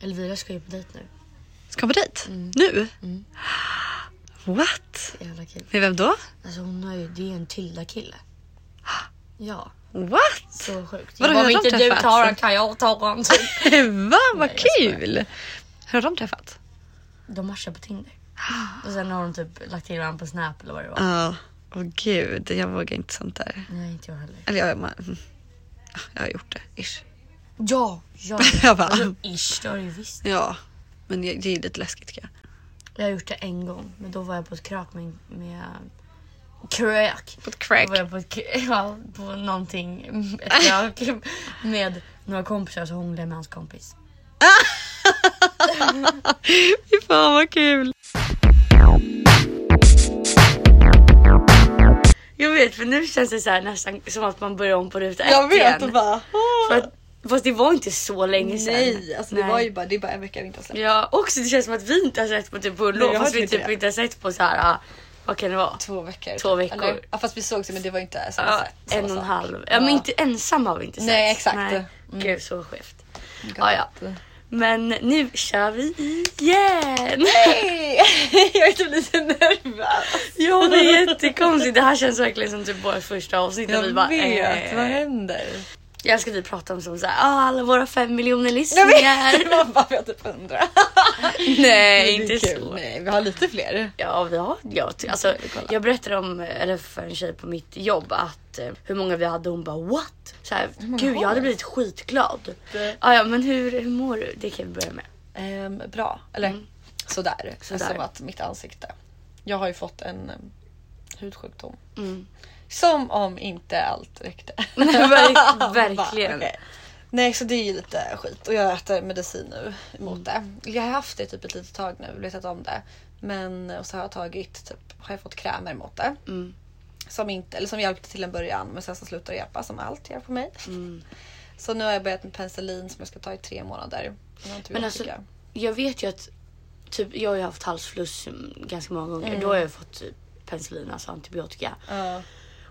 Elvira ska ju på dejt nu. Ska hon på dejt? Mm. Nu? What? Jävla kul. Med vem då? Alltså hon har ju, det är ju en Tilda-kille. Ja, What? så sjukt. Vadå, jag bara, om hur har de inte du träffats? tar den kan jag ta den. typ. Va, vad Nej, jag skojar. kul! Hur har de träffats? De matchar på Tinder. Och sen har de typ lagt till varandra på Snap eller vad det var. Ja, åh gud, jag vågar inte sånt där. Nej, inte jag heller. Eller jag, man, mm. Ja, jag har gjort det, ish. Ja, ja. Jag bara, ah. Alltså, ish, det har du ju visst. ja. Men det det är lite läskigt tycker jag. Jag har gjort det en gång, men då var jag på ett krök med... med krök! På Då ett var crack. jag på, ett, k- ja, på någonting, ett krök med några kompisar så hånglade jag med hans kompis. Fy fan vad kul! Jag vet, för nu känns det så här, nästan som att man börjar om på ruta ett Jag vet och igen. bara... För att, fast det var inte så länge sedan. Nej, alltså det Nej. var ju bara, det är bara en vecka vi inte har släppt. Ja, också det känns som att vi inte har sett på typ på Nej, lov, jag fast har vi inte typ det. inte har sett på så här, ah, vad kan det vara? Två veckor. Två veckor. Eller, ja, fast vi såg det men det var inte så, Ja, så, en och en sak. halv. Ja, men Ja. inte ensam har vi inte sett. Nej, exakt. Mm. Gud så skevt. Gott. Ja, ja. Men nu kör vi igen! Hej! jag är typ lite nervös. Ja det är jättekonstigt. Det här känns verkligen som typ vårt första avsnitt. när Jag vi bara, vet, eh. vad händer? Jag älskar att vi pratar om som så här, ah, alla våra fem miljoner lyssningar. Man bara, vi har typ hundra. Nej Det är inte kul. så. Nej, vi har lite fler. Ja, vi har, ja, ty- alltså, jag berättade om, eller för en tjej på mitt jobb att eh, hur många vi hade och hon bara what? Så här, Gud har Typ. jag hade vi? blivit skitglad. Det- Ja, ja men hur, hur mår du? Det kan vi börja med. Ehm, bra, eller sådär. Mm. Sådär. Som att mitt ansikte. Jag har ju fått en um, hudsjukdom. Mm. Som om inte allt räckte. Verk- verkligen. Bara, okej. Nej så det är ju lite skit och jag äter medicin nu emot Mm. det. Jag har haft det typ ett litet tag nu, vetat om det. Men och så har jag tagit typ, har jag fått krämer mot det. Mm. Som, inte, eller som hjälpte till en början men sen så slutar det hjälpa som allt gör på mig. Mm. Så nu har jag börjat med penicillin som jag ska ta i tre månader. Men alltså, jag vet ju att typ, jag har ju haft halsfluss mm, ganska många gånger. Då har jag fått typ, penicillin, alltså antibiotika. Ja.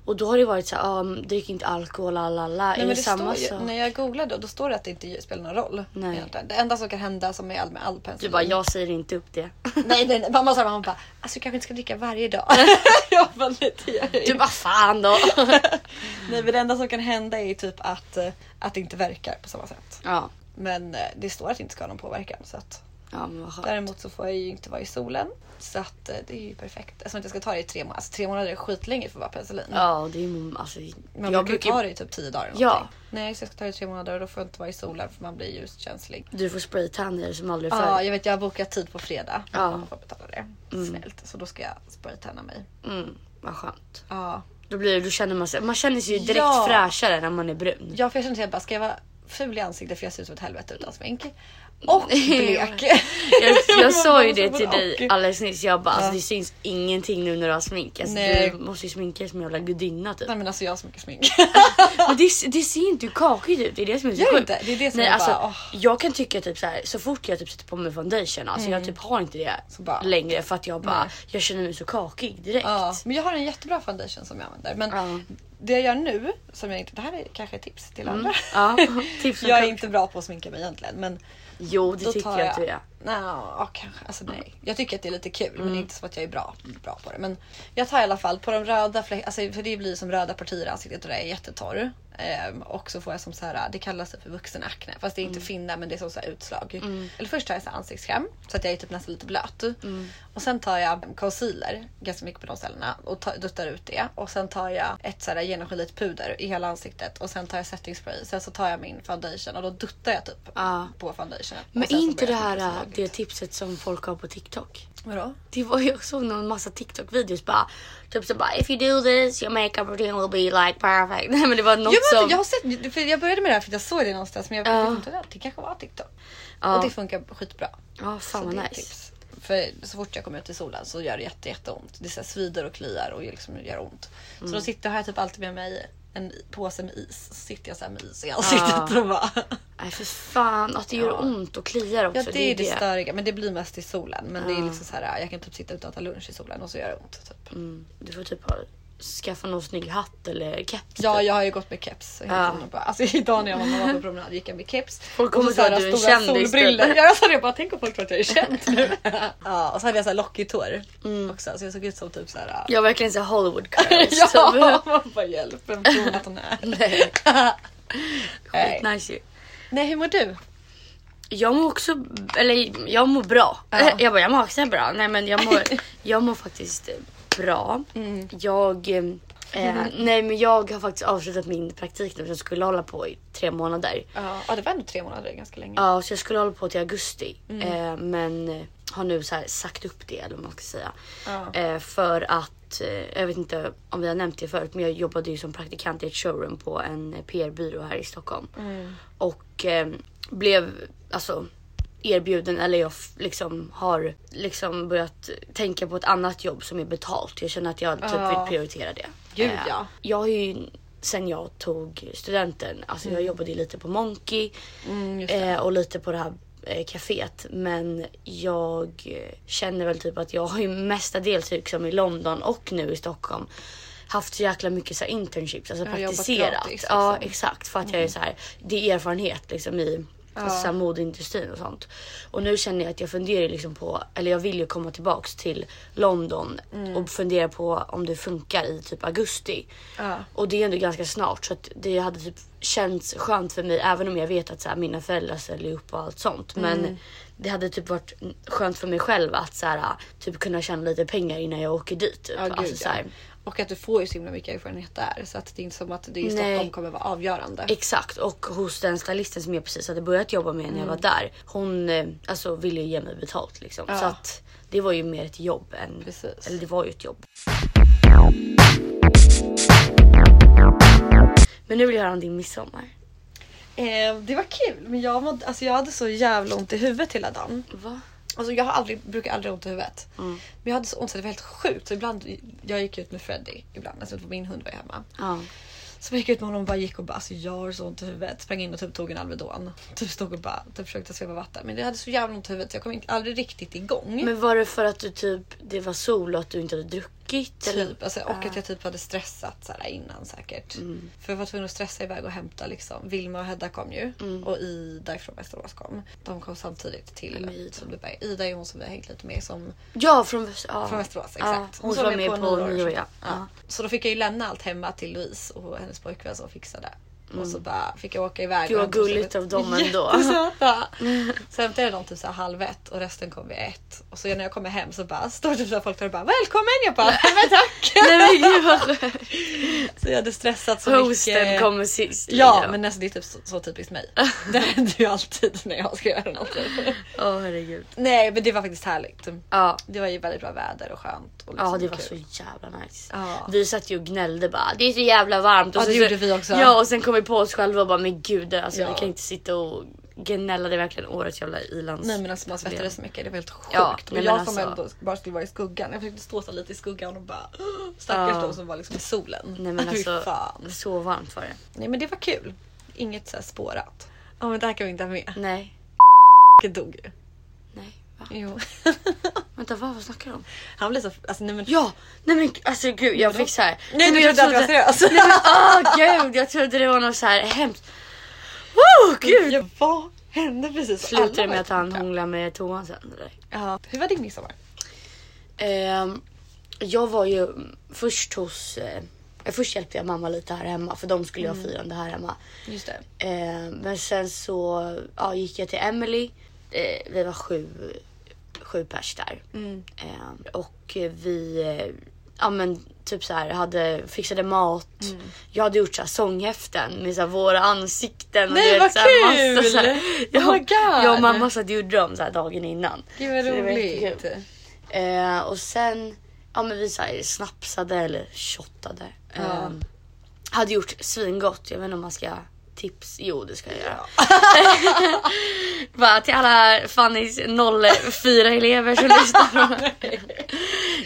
Och då har det varit så här, ah, men drick inte alkohol, la la la. Är Nej, det men det samma står ju, sak? När jag googlade då står det att det inte spelar någon roll. Nej. egentligen. Det enda som kan hända som är all, med all penicillin. Du bara, jag säger inte upp det. Nej, nej, nej. Mamma sa mamma bara, alltså du kanske inte ska dricka varje dag. Typ. jag bara, nej, det gör jag Du inte. bara, fan då. nej, men det enda som kan hända är ju typ att, eh, att det inte verkar på samma sätt. ja, Men eh, det står att det inte ska ha någon påverkan. Så att, ja men vad skönt. däremot så får jag ju inte vara i solen. Så att eh, det är ju perfekt. Eftersom att jag ska ta det i tre månader. Alltså tre månader är skitlänge för att vara penicillin. Ja, och det är ju, alltså, Mm. Man jag brukar ju ta brukar det i typ tio dagar. eller Ja. någonting. Nej, så jag ska ta det i tre månader och då får jag inte vara i solen för man blir ljuskänslig. Du får spraytan i dig som aldrig förr. Ja, jag vet jag har bokat tid på fredag. Ja. Man får betala det. Snällt. Så då ska jag spraytanna mig. Mm, vad skönt. Ja. Då, blir, då känner man sig, man känner sig ju direkt Ja. fräschare när man är brun. Ja för jag kände att jag bara, ska jag vara ful i ansiktet för jag ser ut som ett helvete utan smink. Och blek. Jag, jag sa ju Man det bara, till och- dig alldeles nyss, jag bara alltså, Ja. det syns ingenting nu när du har smink. Alltså, Nej. du måste ju sminka dig som en jävla gudinna typ. Nej men alltså jag har så mycket smink. Men det, det ser ju inte kakigt ut, det är det som är så Gör det sjukt. inte? Det är det som Nej, jag alltså, bara, åh. Jag kan tycka typ så här, så fort jag typ sätter på mig foundation, alltså jag typ har inte det Mm. Så bara- längre för att jag bara, Nej. jag känner mig så kakig direkt. Ja, men jag har en jättebra foundation som jag använder. Men Ja. Mm. det jag gör nu, som jag inte, det här är kanske ett tips till andra. Ja, tips från Jag är coach. inte bra på att sminka mig egentligen men Jo det Mm. då tycker tar jag att du är. Nja, kanske. Alltså nej. Jag tycker att det är lite kul men det Mm. är inte så att jag är bra, bra på det. Men jag tar i alla fall på de röda fläckarna, alltså, för det blir som röda partier i ansiktet och det är jättetorr. Ehm, och så får jag som så här, det kallas typ för vuxenakne. Fast det är inte Mm. finna men det är som så här utslag. Eller först tar jag så här ansiktskräm så att jag är typ nästan lite blöt. Mm. Och sen tar jag concealer ganska mycket på de ställena och ta, duttar ut det. Och sen tar jag ett så här genomskinligt puder i hela ansiktet och sen tar jag setting spray. Sen så tar jag min foundation och då duttar jag typ Ja. på foundationen. Men är Och sen så inte det börjar jag sminka här så lagligt. det tipset som folk har på TikTok? Vadå? Det var ju, jag såg någon massa TikTok videos bara typ så bara if you do this your makeup routine will be like perfect. Nej men det var något Jag, vet, som. inte, jag har sett, för jag började med det här för att jag såg det någonstans men jag Ja. vet inte det, det kanske var TikTok. Ja. Och det funkar skitbra. Ja Så fan vad det är nice. ett tips. För så fort jag kommer ut i solen så gör det jätte, jätteont. Det så här svider och kliar och liksom gör ont. Mm. Så då sitter, har jag typ alltid med mig en i- påse med is. Så sitter jag så här med Ah. is i ansiktet och bara... Nej för fan att det gör ont och kliar också. Ja det är ju det störiga men det blir mest Ah. äh, i solen. Men det är liksom så här, jag kan typ sitta ute och äta lunch i solen och så gör det ont. Typ. Mm, du får typ ha skaffa någon snygg hatt eller keps. typ. Ja, jag har ju gått med keps. hela Ja. tiden och bara- Alltså, idag när jag var mamma på promenad gick jag med keps. Folk Och så kommer så här tro att du är stora kändis, typ. solbrillor. Ja, alltså, jag bara tänk om folk tror att jag är känd nu. ja, och så hade jag så här lockigt hår också. Så jag såg ut som typ så här. Jag har verkligen såhär Hollywood curls. ja, man bara hjälp. Vem tror att hon är? Nej. Nej. Nice ju. Nej, hur mår du? Jag mår också, eller jag mår bra. Ja. Jag bara jag mår också bra. Nej men jag mår, jag mår faktiskt eh, bra. Jag, eh, eh, nej men jag har faktiskt avslutat min praktik nu som skulle hålla på i tre månader. Ja, det var ändå tre månader, ganska länge. Mm. Ja, så jag skulle hålla på till augusti. Eh, men eh, har nu så här sagt upp det eller vad man ska säga. Ja. Eh, för att, eh, jag vet inte om vi har nämnt det förut, men jag jobbade ju som praktikant i ett showroom på en eh, PR-byrå här i Stockholm. Mm. Och eh, blev alltså erbjuden, eller jag f- liksom har liksom börjat tänka på ett annat jobb som är betalt. Jag känner att jag typ Ja. vill prioritera det. Gud, Eh, ja. Jag har ju sen jag tog studenten, alltså jag jobbade ju lite på Monkey. Mm, just det. Eh, och lite på det här eh, kaféet. Men jag eh, känner väl typ att jag har ju mestadels liksom i London och nu i Stockholm haft så jäkla mycket så här internships, alltså Ja, jobbat praktiserat. gratis, Ja liksom. exakt för att jag är så här, det är erfarenhet liksom i alltså, så här, modeindustrin och sånt. Och nu känner jag att jag funderar ju liksom på, eller jag vill ju komma tillbaks till London Mm. och fundera på om det funkar i typ augusti. Ja. Och det är ändå ganska snart så att det hade typ känts skönt för mig även om jag vet att så här, mina föräldrar ställer upp och allt sånt. Men Mm. det hade typ varit skönt för mig själv att så här, typ kunna tjäna lite pengar innan jag åker dit. Typ. Ja, gud, alltså, så här, ja. Och att du får ju så himla mycket erfarenhet där. Så att det är inte som att det i Stockholm Nej. kommer vara avgörande. Exakt och hos den stylisten som jag precis hade börjat jobba med när jag var där. Hon eh, alltså, ville ju ge mig betalt liksom. Mm. Ja. Så att det var ju mer ett jobb än... Precis. Eller det var ju ett jobb. Men nu vill jag höra om din midsommar. Eh, det var kul men jag, mådde, alltså jag hade så jävla ont i huvudet hela dagen. Va? Alltså jag har aldrig, brukar aldrig ha ont i huvudet. Mm. Men jag hade så ont så det var helt sjukt. Så ibland, jag gick ut med Freddy ibland, alltså min hund var ju hemma. Ja. Så jag gick ut med honom och bara gick och bara alltså jag har så ont i huvudet. Sprang in och typ tog en Alvedon. Typ stod och bara typ försökte sveva vatten. Men jag hade så jävla ont i huvudet så jag kom inte, aldrig riktigt igång. Men var det för att du typ, det var sol och att du inte hade druckit? Eller? Typ, alltså, och att jag typ hade stressat så här innan säkert. Mm. För jag var tvungen att stressa iväg och hämta liksom. Vilma och Hedda kom ju Mm. och Ida från Västerås kom. De kom samtidigt till Vem är Ida? som du bara, Ida är hon som vi har hängt lite med som Ja, från, Väs- ja. från Västerås. Exakt. Ja, hon som var med på nyår. nyår ja. Ja. ja. Så då fick jag ju lämna allt hemma till Louise och hennes pojkvän som fixade. Och så bara fick jag åka iväg. Mm. Gud, vad och hämta- gulligt av dem Mm. ändå. Jättesöta. Så hämtade jag dem typ så här halv ett och resten kom vid ett. Och så när jag kommer hem så bara står typ så här folk där och bara välkommen. Jag bara men tack. Nej men gud vad skönt. Så jag hade stressat så Hosten mycket. kommer sist. Ja liksom. men alltså, det är typ så, så typiskt mig. Det händer ju alltid när jag ska göra något. Åh herregud. Nej men det var faktiskt härligt. Ja. Det var ju väldigt bra väder och skönt. Och liksom Ja det var kul. så jävla nice. Ja. Vi satt ju och gnällde bara det är så jävla varmt. Och Ja, så, det gjorde vi också. Ja och sen kom vi på oss själva och bara men gud alltså, Ja. vi kan inte sitta och gnälla. Det är verkligen årets jävla ilands... Nej men alltså man svettades så mycket, det var helt sjukt. Ja, och nej, men jag som alltså- ändå bara skulle vara i skuggan, jag försökte stå så lite i skuggan och bara "Åh, stackars Ja. de som var liksom i solen. Nej men Fy alltså fan. så varmt var det. Nej men det var kul. Inget så här spårat. Ja men det här kan vi inte ha med. Nej. Det dog ju. Nej. Va? Jo. Vänta vad, vad snackar du om? Han blev så, alltså nej men. Ja! Nej men alltså gud jag fick så här. Nej alltså, du men trodde att jag var seriös. Åh gud jag trodde det var något så här hemskt. Woo, gud! Ja, vad hände precis? Slutade Alla det var med att han sjuka. hånglade med toan sen eller? Ja. Hur var din midsommar? Ehm, jag var ju först hos... Eh, först hjälpte jag mamma lite här hemma för de skulle ju Mm. ha firande här hemma. Just det. Ehm, men sen så ja, gick jag till Emily. Eh, vi var sju, sju pers där. Mm. Ehm, och vi eh, ja, men, typ så här, hade, fixade mat. Mm. Jag hade gjort så här, sånghäften med så här, våra ansikten. Nej, du vet, vad så här, kul! så här. Oh my jag, God! jag och mamma satt och gjorde dem så här, dagen innan. Gud vad Så det var roligt. jättekul. Eh, och sen, ja men vi så här, snapsade eller shottade. Eh, Ja. Hade gjort svingott, jag vet inte om man ska tips. Jo det ska jag göra. Bara till alla Fannys 04 elever som lyssnar. Nej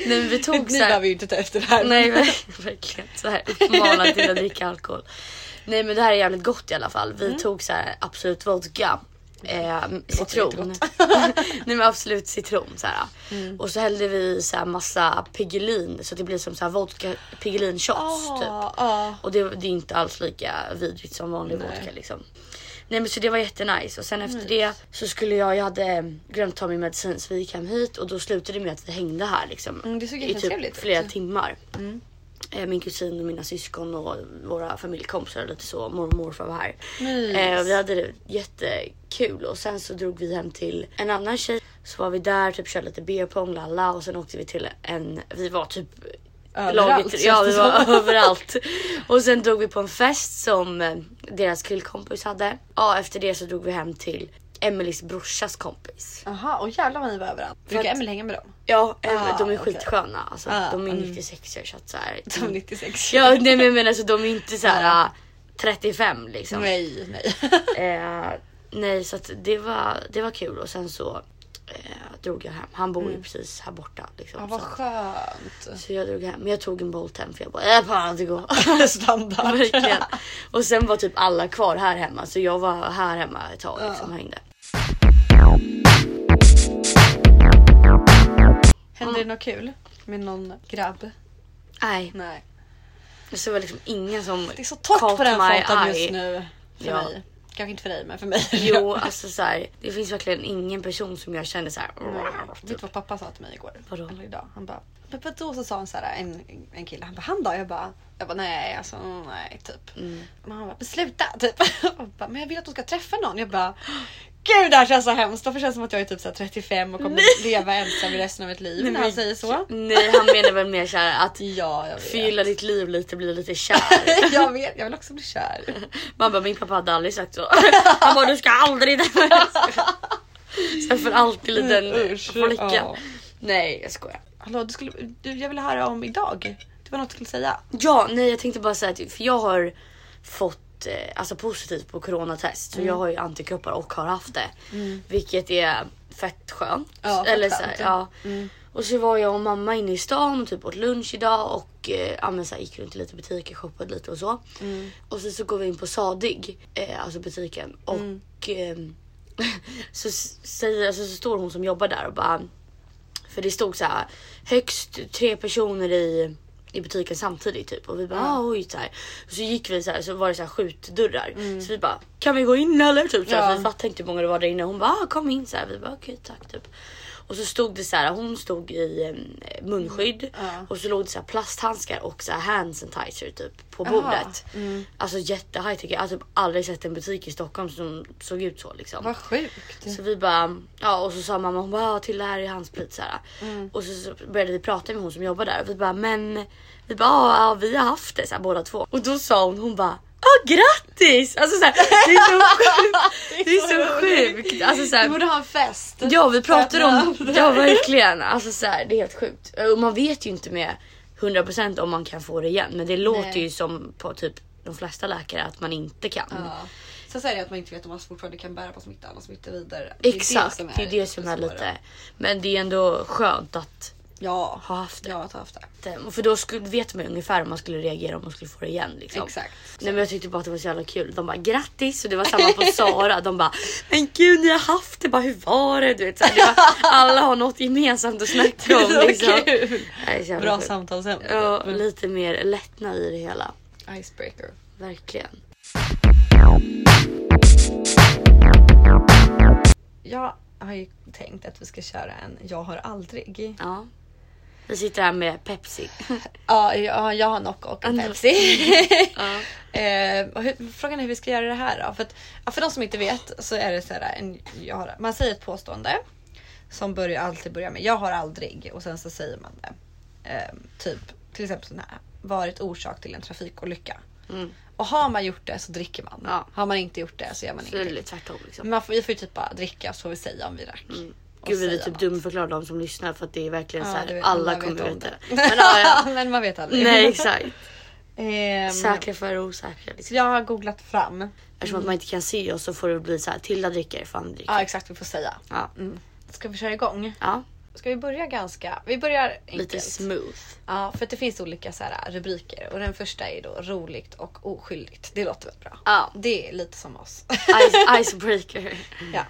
men vi tog Ni så här, behöver ju inte ta efter det här. Nej ver- verkligen. Så här uppmanad till att dricka alkohol. Nej men det här är jävligt gott i alla fall. Vi tog så här Absolut Vodka. eh, låter citron. Nej men absolut citron så här. Och så hällde vi så här massa pigelin så att det blir som så här vodka pigelin shots Ah, typ. Ja, ja. Och det, det är inte alls lika vidrigt som vanlig vodka liksom. Nej men så det var jättenice och sen efter det så skulle jag, jag hade eh, glömt ta min medicin så vi gick hem hit och då slutade det med att vi hängde här liksom. Mm, det såg I jättetrevligt typ ut. Mm. flera timmar. Eh, Min kusin och mina syskon och våra familjekompisar och lite så. Mormor och morfar var här. Mys. Eh, och vi hade det jättekul och sen så drog vi hem till en annan tjej. Så var vi där, typ körde lite beer pong, lalla och sen åkte vi till en, vi var typ Överallt, laget, känns ja det vi var som. överallt. Och sen drog vi på en fest som eh, deras killkompis hade. Ja efter det så drog vi hem till Emelies brorsas kompis. Jaha, och jävlar vad ni var överallt. Brukar Emelie hänga med dem? Ja Em- Ah, de är okej. skitsköna, alltså, Ah, de är mm. 96 så att så här, Som 96. Mm. Ja nej men jag menar så de är inte så här 35 liksom. Ah. Nej, nej. Eh, nej så att det var, det var kul och sen så eh, drog jag hem. Han bor ju precis här borta. Liksom, Ja, Mm. Ah, vad så, skönt. så Alltså, jag drog hem. Men jag tog en Bolt hem för jag bara, äh, fan det går. Standard. Verkligen. Och sen var typ alla kvar här hemma så jag var här hemma ett tag liksom, och hängde. Hände Mm. det något kul med någon grabb? Nej, Nej. så var liksom ingen som Det är så torrt caught på den my fronten eye. just nu. För Ja. mig. Kanske inte för dig, men för mig. Jo, alltså så här, det finns verkligen ingen person som jag känner så här. Mm. Vet du vad pappa sa till mig igår? Vadå? Eller idag. Han bara, men vadå? Så sa han så här, en, en kille, han bara, han då? Jag bara, jag bara nej alltså nej typ. Mm. Men han bara, men sluta typ. Han bara, men jag vill att du ska träffa någon. Jag bara, gud det här känns så hemskt. Varför känns det som att jag är typ så här 35 och kommer leva ensam i resten av mitt liv när han säger så? Nej, han menar väl mer så här att Ja, jag vet. förgylla ditt liv lite, bli lite kär. jag vet, jag vill också bli kär. Man bara, min pappa hade aldrig sagt så. Han bara, du ska aldrig träffa en Sen för alltid liten Usch, flicka. ja. Nej jag skojar. Hallå, du skulle, du, jag ville höra om idag. Det var något du skulle säga. Ja nej jag tänkte bara säga att för jag har fått eh, alltså positivt på coronatest så Mm. jag har ju antikroppar och har haft det. Vilket är fett skönt. Ja, fett Eller så här, skönt. Mm. ja. Och så var jag och mamma inne i stan och typ åt lunch idag och eh, ja, men så här, gick runt i lite butiker, shoppade lite och så. Mm. Och sen så går vi in på Sadig, eh, alltså butiken Mm. och ehm, så, s- säger, alltså, så står hon som jobbar där och bara för det stod så här högst tre personer i, i butiken samtidigt typ och vi bara ah, oj så här. Så gick vi så här så var det så här skjutdörrar så vi bara kan vi gå in eller typ så här, Ja. för vi fattade inte hur många det var där inne. Hon bara ah, kom in så här. Vi bara okej tack typ. Och så stod det så här, hon stod i eh, munskydd och så låg det så här plasthandskar och så här hand sanitizer typ på bordet. Alltså jätte high tech. Jag har typ aldrig sett en butik i Stockholm som såg ut så liksom. Vad sjukt. Så vi bara, ja och så sa mamma hon bara ja, till det här är handsprit så här. Och så, så började vi prata med hon som jobbar där och vi bara men vi bara ja, ja vi har haft det så här, båda två och då sa hon hon bara ja grattis! Alltså så här, det är så sjukt. Det är så sjukt. Alltså, så Du här, borde ha en fest. ja vi pratar om, Spännande. ja verkligen alltså så här, det är helt sjukt. Och man vet ju inte med 100% om man kan få det igen men det låter ju som på typ de flesta läkare att man inte kan. Ja. Sen så är det att man inte vet om man fortfarande kan bära på smittan och smitta vidare. Det är det Exakt, som det är det som är svåra. lite. Men det är ändå skönt att Ja, ha haft det. ja, att ha haft det. Eh, För då skulle, vet man ju ungefär hur man skulle reagera om man skulle få det igen. Liksom. Exakt. Nej, men jag tyckte bara att det var så jävla kul. De bara grattis och det var samma på Sara. De bara men gud ni har haft det, bara, hur var det? Du vet, så här, det var, alla har något gemensamt att snacka om. Så Liksom. kul. Nej, det är så jävla Bra Mm. sjukt. samtalsämne. Ja, lite mer lättnad i det hela. Icebreaker. Verkligen. Jag har ju tänkt att vi ska köra en jag har aldrig. Ja. Vi sitter här med Pepsi. Ja, jag, jag har Nocco och en Mm. Pepsi. Ja. Eh, och hur, frågan är hur vi ska göra det här då? För, att, ja, för de som inte vet så är det så här. En, jag har, man säger ett påstående som börjar alltid börja med jag har aldrig och sen så säger man det. Eh, typ till exempel sån här varit orsak till en trafikolycka. Och har man gjort det så dricker man. Mm. Ja. Har man inte gjort det så gör man Så det är inte. lite tvärtom liksom. Men man får, vi får ju typ bara dricka så får vi säga om vi drack. Och Gud vi vill säga typ något. dumförklara de som lyssnar för att det är verkligen Ja, så det här, vet- alla vet kommer om veta. det. Mm. Men ja, ja. Men man vet aldrig. Nej exakt. Ehm, Säkra för osäkra. Liksom. så jag har googlat fram. Eftersom att man inte kan se oss så får det bli så här Tilda dricker, fan dricker. Ja Mm. exakt vi får säga. Ja. Ska vi köra igång? ja. Ska vi börja ganska... Vi börjar enkelt. Lite smooth. Ja, för att det finns olika så här rubriker och den första är då roligt och oskyldigt. Det låter väl bra? Ja. Det är lite som oss. Ice, icebreaker. ja.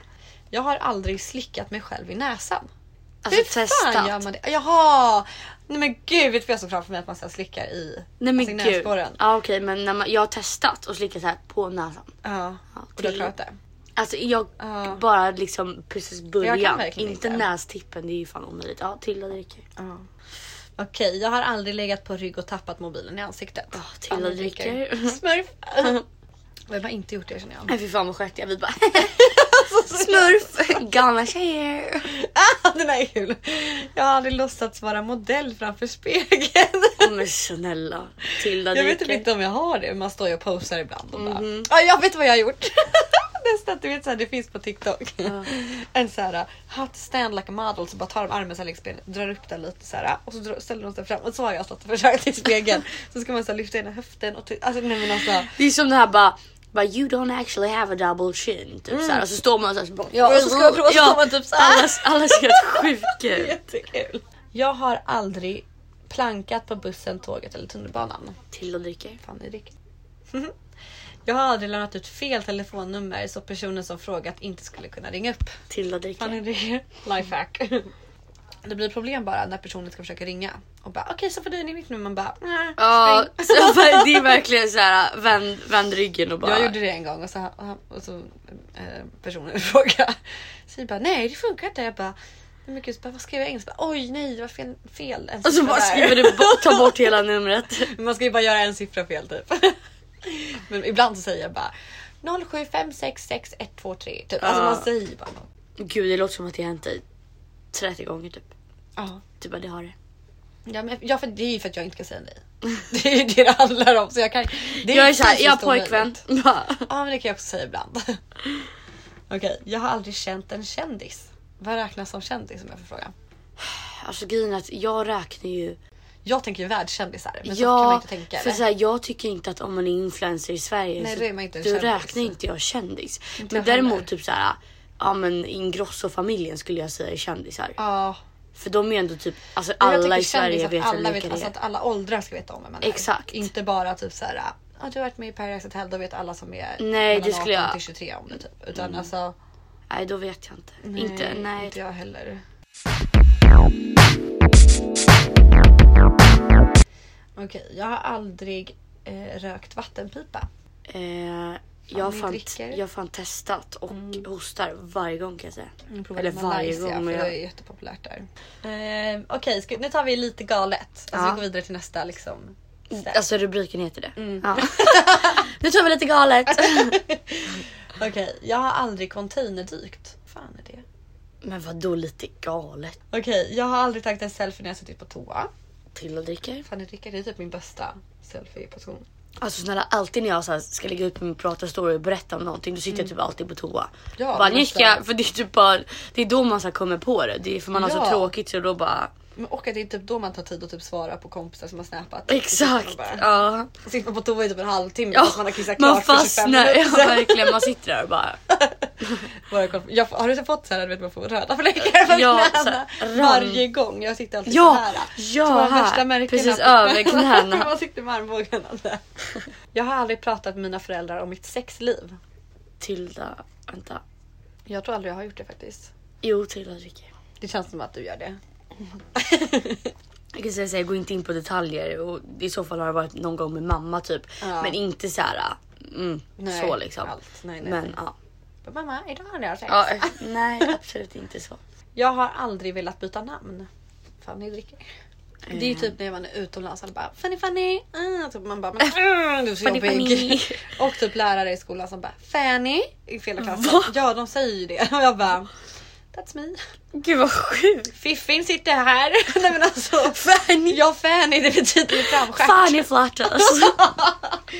Jag har aldrig slickat mig själv i näsan. Alltså Hur fan testat. gör man det? Jaha! Nej men gud, vet du vad jag såg framför mig att man så här slickar i, Nej men alltså, i gud. Ja näsborren? ah, okej men när man, jag har testat och slickat så här på näsan. Ja. Och du har till- klarat det? Alltså jag Ja. bara liksom precis början. verkligen inte inte. nästippen, det är ju fan omöjligt. Ja, Tilda dricker. Ja. Okej, jag har aldrig legat på rygg och tappat mobilen i ansiktet. Ja, Tilda Aldrig dricker. Smurf! Vem har inte gjort det känner jag. Nej fy fan vad skönt jag vi bara smurf, gamla tjejer. Ah, den här är kul! Jag har aldrig låtsats vara modell framför spegeln. Ja, Men snälla, Tilda Jag vet dricker. typ inte om jag har det. Man står ju och posar ibland och bara. "Ja, jag vet vad jag har gjort. Nästan du vet så här, det finns på TikTok. En så här how to stand like a model så bara tar de armen så här längs benet, drar upp den lite så här uh, och så drar, ställer de sig fram och så har jag stått och försökt i spegeln. så ska man så här, lyfta ena höften och ty- alltså nej men alltså. Det är som det här bara, bara you don't actually have a double chin. Typ såhär. Och så står man såhär. Så Mm. Ja, och så ska man prova, så står man typ så här. Alla, alla ser helt sjuka ut. Jättekul. Jag har aldrig plankat på bussen, tåget eller tunnelbanan. Tilda dricker. Fan Erik. Jag har aldrig lämnat ut fel telefonnummer så personen som frågat inte skulle kunna ringa upp. Tilda dricker. Fan är det lifehack. Det blir problem bara när personen ska försöka ringa och bara okej så får du in mitt nummer man bara nej. Ja, så bara- det är verkligen så här vänd, vänd ryggen och bara. Jag gjorde det en gång och så, och han- och så eh, personen frågade. Så vi bara nej det funkar inte. Jag bara men gud, så bara, vad skrev jag engelska? Oj nej det var fel. fel en Och så siffra bara där." skriver du bort, ta bort hela numret. Man ska ju bara göra en siffra fel typ. Men ibland så säger jag bara 07566123 typ. Alltså Ja. man säger bara något. Gud det låter som att det har hänt dig 30 gånger typ. Ja. Typ bara det har det. Ja, men, ja för det är ju för att jag inte ska säga nej. Det är ju det det handlar om. Så jag kan, det Jag är såhär, jag har fysiskt omöjligt. pojkvän. Bara, Ja men det kan jag också säga ibland. Okej, jag har aldrig känt en kändis. Vad räknas som kändis om jag får fråga? Alltså grejen är att jag räknar ju. Jag tänker ju världskändisar men så kan man Ja, inte tänka. för eller? så här, jag tycker inte att om man är influencer i Sverige Nej, så då är man inte en då kändis. räknar inte jag kändis. men jag heller. däremot typ så här, ja men Ingrosso-familjen skulle jag säga är kändisar. Ja, För de är ändå typ, alltså Men jag alla tycker i Sverige kändis vet att alla alla vilka vet, det alltså är. att alla åldrar ska veta om vem man är. Exakt. Inte bara typ så här. "Ah, du har varit med i Paradise Hotel, då vet alla som är Nej, det skulle jag- till 23 om det typ. Utan alltså, Nej då vet jag inte. inte, nej. inte jag heller. Okej, jag har aldrig eh, rökt vattenpipa. Eh, jag, har ni fan, dricker. jag har fan testat och hostar varje gång kan jag säga. Jag provade Eller med varje Malaysia, gång. För Men Mm, det är jag, jättepopulärt där. Eh, Okej, ska- nu tar vi lite galet. Alltså Ja. vi går vidare till nästa liksom. step. alltså rubriken heter det. Mm. Ja. nu tar vi lite galet. Okej, jag har aldrig containerdykt. fan är det? men vadå lite galet? Okej, jag har aldrig tagit en selfie när jag suttit på toa. Till och dricker. Fan Rickard, det är typ min bästa selfie-position. Alltså snälla alltid när jag så här ska lägga ut min prata story och berätta om någonting då sitter jag typ alltid på toa. Mm. Ja, bara men nicka snälla. för det är typ bara det är då man så här kommer på det. det är för man har Ja. så tråkigt så då bara Men och att det är typ då man tar tid att typ svara på kompisar som har snappat. exakt. Och bara- Ja. Sitter man på toa i typ en halvtimme Ja, fast man har kissat man klart för 25 fastnar. Ja, minuter. verkligen man sitter där och bara Våra konf- jag, har du fått såhär, du vet man får röda fläckar på Ja, knäna så här, varje gång. Jag sitter alltid Ja, såhär. ja, så man har här. värsta märkena Precis på över knäna. man sitter med armbågarna där. Jag har aldrig pratat med mina föräldrar om mitt sexliv. Tilda, vänta. Jag tror aldrig jag har gjort det faktiskt. Jo Tilda dricker. Det känns som att du gör det. Jag kan säga så här, jag går inte in på detaljer och i så fall har det varit någon gång med mamma typ. Ja. Men inte så här. Mm, Nej, så liksom. allt. Nej, nej, Men nej. ja. Mamma, idag har jag sex. ja. eh, Nej absolut inte så. Jag har aldrig velat byta namn. Fanny dricker. Mm. Det är ju typ när man är utomlands alla bara Fanny Fanny. ah, typ man bara men, Äh, ah, du är så Fanny, Fanny. jobbig. Och typ lärare i skolan som bara Fanny i fel klass. Ja de säger ju det och jag bara That's me. Gud vad sjukt. Fiffin sitter här. Nej men alltså Fanny. Ja Fanny det betyder ju framstjärt. Fan jag flörtas.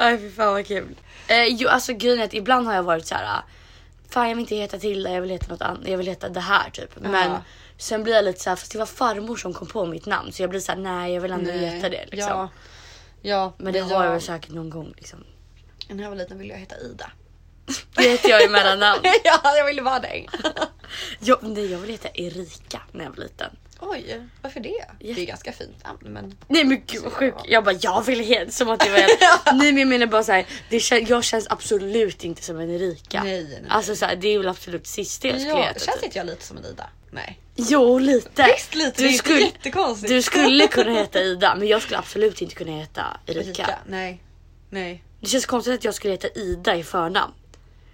Nej fy fan vad kul. Eh, jo alltså grejen är att ibland har jag varit så här. ah, Fan jag vill inte heta Tilda, jag vill heta något annat, jag vill heta det här typ. Men Ja. sen blir jag lite så här, fast det var farmor som kom på mitt namn så jag blir så här, nej jag vill ändå Nej, heta det liksom. Ja. ja Men det har jag väl jag. säkert någon gång liksom. När jag var liten ville jag heta Ida. Det heter jag i mellannamn. ja jag ville vara dig. Jag, nej, jag ville heta Erika när jag var liten. Oj, varför det? Det är ganska fint namn men... Nej men gud vad sjukt. Jag bara jag vill heta som att det var jag. Nej men jag menar bara så här, det kän, jag känns absolut inte som en Erika. Nej, nej, nej. Alltså så här, det är väl absolut sista jag skulle Ja, heta. känns typ. inte jag lite som en Ida? Nej. Jo lite. Visst lite, det är inte jättekonstigt. du skulle kunna heta Ida men jag skulle absolut inte kunna heta Erika. Erika? Nej. Nej. Det känns konstigt att jag skulle heta Ida i förnamn.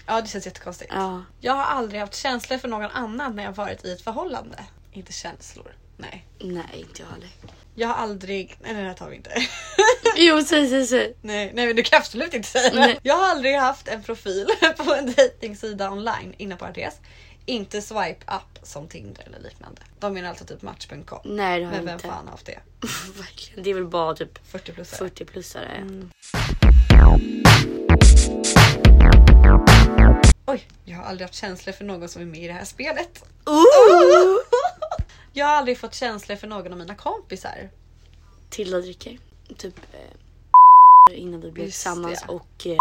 Ja det känns jättekonstigt. Ja. Jag har aldrig haft känslor för någon annan när jag varit i ett förhållande. Inte känslor. Nej. Nej inte jag heller. Jag har aldrig... Nej den här tar vi inte. Jo säg säg säg. nej, nej men du kan absolut inte säga det. Nej. Jag har aldrig haft en profil på en dejtingsida online innan Parentes. Inte swipe up som Tinder eller liknande. De menar alltså typ match.com. Nej det har Men jag vem inte. fan har haft det? Verkligen. Det är väl bara typ 40 plus 40 plusare. Mm. Oj, jag har aldrig haft känslor för någon som är med i det här spelet. Ooh! Jag har aldrig fått känslor för någon av mina kompisar. Tilda dricker. Typ eh, innan vi blev Just tillsammans det. och eh,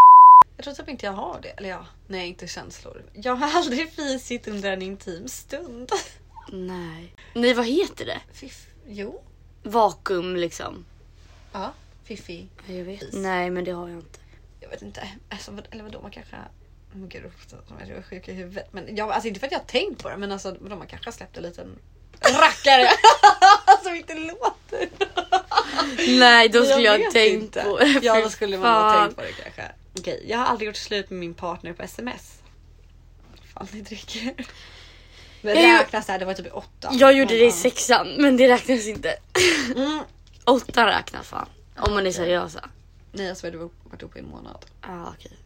Jag tror typ inte jag har det. Eller ja, nej inte känslor. Jag har aldrig fisit under en intim stund. nej. Nej vad heter det? Fiff... Jo. Vakuum liksom. Ja, fiffi. Ja, Jag vet. Fis. Nej men det har jag inte. Jag vet inte. Alltså, vad- eller vadå, man kanske... Men gud, som jag är sjuk i huvudet. Men jag, alltså inte för att jag har tänkt på det, men alltså vadå, man kanske har släppt en liten rackare som inte låter. Nej då skulle jag, vet tänkt inte. på Ja, Fy då skulle man ha fan. tänkt på det kanske. Okej, jag har aldrig gjort slut med min partner på sms. Fan, ni dricker. Jag Men det gjo- räknas här, det var typ i åtta. Jag gjorde Men, det i ja. sexan men det räknas inte. Mm. Åtta räknas fan. Om man är seriösa. Nej, alltså du har varit ihop i en månad. Ja ah, okej.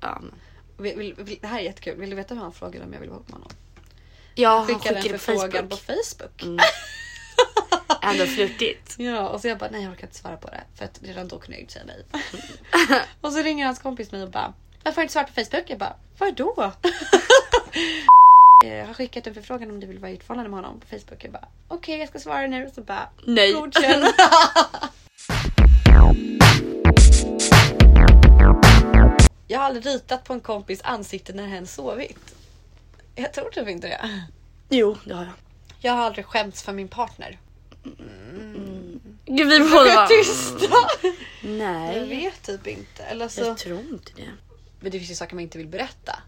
Ja, men. Vill, vill, vill, det här är jättekul. Vill du veta hur han frågade om jag vill vara ihop med honom? ja han Skickade skickade en på förfrågan Facebook. på Facebook. Ändå flörtigt. Ja, och så jag bara nej jag orkar inte svara på det för att redan då kunde jag ju inte säga nej. och så ringer hans kompis mig och bara varför har du inte svarat på Facebook? Jag bara vadå? Jag har skickat en förfrågan om du vill vara i ett förhållande med honom på Facebook. Jag bara okej jag ska svara nu. Så bara Nej. godkänn. jag har aldrig ritat på en kompis ansikte när hen sovit. Jag tror typ inte det. Jo det har jag. Jag har aldrig skämts för min partner. Gud vi båda bara. Tysta! Jag Nej. vet typ inte. Eller så... Jag tror inte det. Men det finns ju saker man inte vill berätta.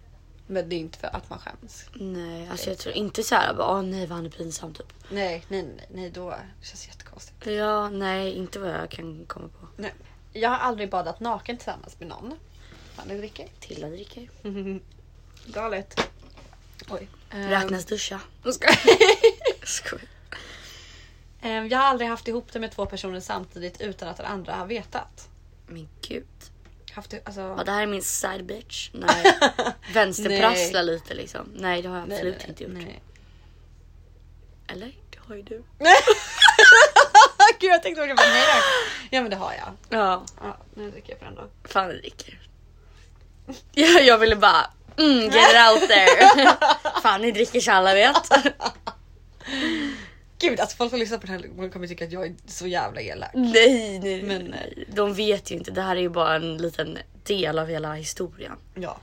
Men det är inte för att man skäms. Nej, alltså jag tror inte så här bara åh nej vad han är pinsam typ. Nej, nej, nej, nej då känns det jättekonstigt. Ja, nej inte vad jag kan komma på. Nej. Jag har aldrig badat naken tillsammans med någon. Fan, det dricker. Tilda dricker. Galet. Oj. Räknas duscha. Ehm, ska- Skoj. Ehm, jag har aldrig haft ihop det med två personer samtidigt utan att den andra har vetat. Men gud. Haft, det- alltså, Ja, det här är min side bitch. Nej. Vänsterprassla lite liksom. Nej det har jag nej, absolut nej, inte gjort. nej. Eller? Det har ju du. Gud jag tänkte verkligen bara nej. nej. Ja men det har jag. Ja. Ja, nu dricker jag på den då. Fan jag dricker. Jag, jag ville bara mm, get it out there. Fan ni dricker så alla vet. Gud alltså folk som lyssnar på den här kommer tycka att jag är så jävla elak. Nej, nej, Men- men nej. De vet ju inte. Det här är ju bara en liten del av hela historien. Ja.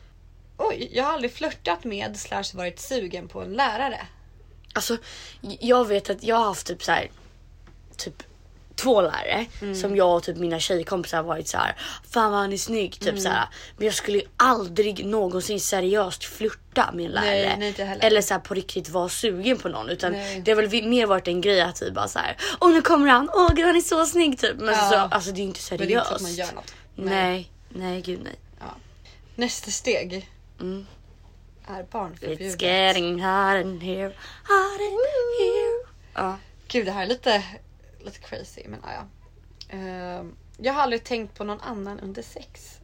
Oj, jag har aldrig flörtat med slash varit sugen på en lärare. Alltså, j- jag vet att jag har haft typ så här, typ två lärare Mm. som jag och typ mina tjejkompisar har varit så här. Fan vad han är snygg Mm. typ så här. Men jag skulle ju aldrig någonsin seriöst flirta med en Nej, lärare. nej, inte heller. Eller så här på riktigt vara sugen på någon utan Nej. det har väl vi- mer varit en grej att typ bara så här. Åh nu kommer han. Åh gud han är så snygg typ. Men Ja. så, alltså det är ju inte Men seriöst. det är inte så att man gör något. Nej, nej gud nej. Ja. Nästa steg Mm. är barnförbjudet. It's getting hot in here, hot in here. Ja. Gud, det här är lite, lite crazy. Men ja, ja. Ehm, jag har aldrig tänkt på någon annan under sex.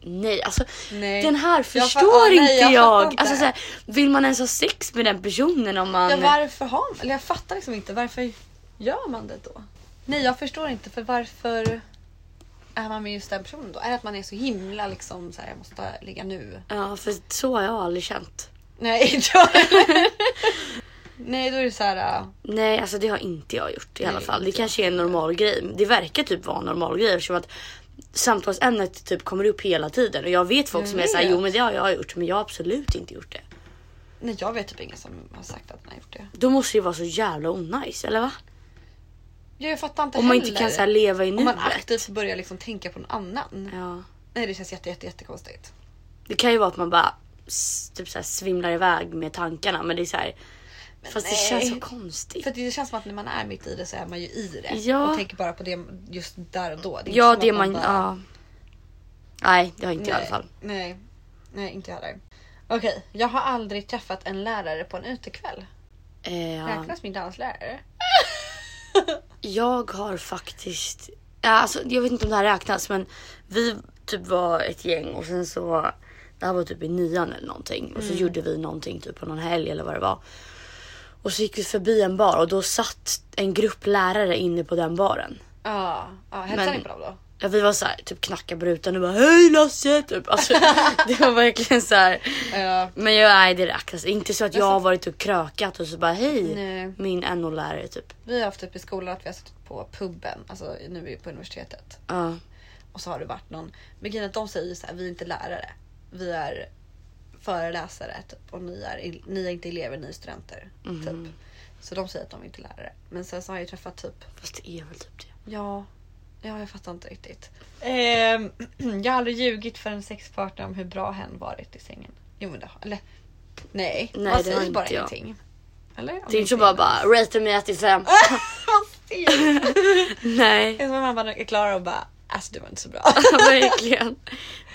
Nej, alltså Nej. den här fa- förstår ja, nej, inte jag jag. fattar inte. Alltså, så här, vill man ens ha sex med den personen om man... Ja, varför har man? Eller jag fattar liksom inte. Varför gör man det då? Nej, jag förstår inte. För varför är man med just den personen då? Är det att man är så himla liksom så här, jag måste ligga nu? Ja, för så har jag aldrig känt. Nej, inte jag heller. Nej, då är det så här. äh, Nej, alltså det har inte jag gjort i alla Nej, fall. Det inte kanske är en normal grej. Det verkar typ vara en normal grej eftersom att samtalsämnet typ kommer upp hela tiden och jag vet folk Jag som är såhär, vet. jo men det har jag gjort men jag har absolut inte gjort det. Nej jag vet typ ingen som har sagt att man har gjort det. Då måste det ju vara så jävla onajs, eller va? Ja, Jag fattar inte Om man heller. inte kan så här leva i Om man nuet. aktivt börjar liksom tänka på någon annan. Ja. Nej det känns jätte, jätte, jättekonstigt. Det kan ju vara att man bara s- typ så här svimlar iväg med tankarna men det är så här. Fast det nej. känns så konstigt. För att det känns som att när man är mitt i det så är man ju i det. Ja. Och tänker bara på det just där och då. är inte ja som det att man, ja. Nej det har inte nej, jag i alla fall. Nej, nej inte jag heller. Okej, jag har aldrig träffat en lärare på en utekväll. Eh, ja. Räknas min danslärare? Jag har faktiskt, ja, alltså, jag vet inte om det här räknas men vi typ var ett gäng och sen så, det här var typ i nian eller någonting och så Mm. gjorde vi någonting typ på någon helg eller vad det var. Och så gick vi förbi en bar och då satt en grupp lärare inne på den baren. Ja, ja hälsar Men- ni på dem då? Ja, vi var så här, typ knacka på rutan och bara hej Lasse! Typ. Alltså, det var verkligen så här. Ja. Men jag, nej det räknas inte så att jag har varit och krökat och så bara hej Nej. min NO-lärare typ. Vi har haft typ i skolan att vi har suttit på puben, alltså nu är vi på universitetet. Ja. Och så har det varit någon, men grejen är att de säger ju så här, vi är inte lärare. Vi är föreläsare typ, och ni är, ni är inte elever, ni är studenter. Typ. Så de säger att de inte är lärare. Men sen så har jag ju träffat typ Fast det är väl typ det. Ja, ja jag fattar inte riktigt. Ehm, jag har aldrig ljugit för en sexpartner om hur bra hen varit i sängen. Jo men det har... Eller Nej, nej, man det har säger bara inte jag. ingenting. Eller? Om Det är inte så bara säger bara rate mig 1 till 5. Vad stelt. Det Nej är som att man Alltså, bara är klar och bara alltså du var inte så bra. verkligen.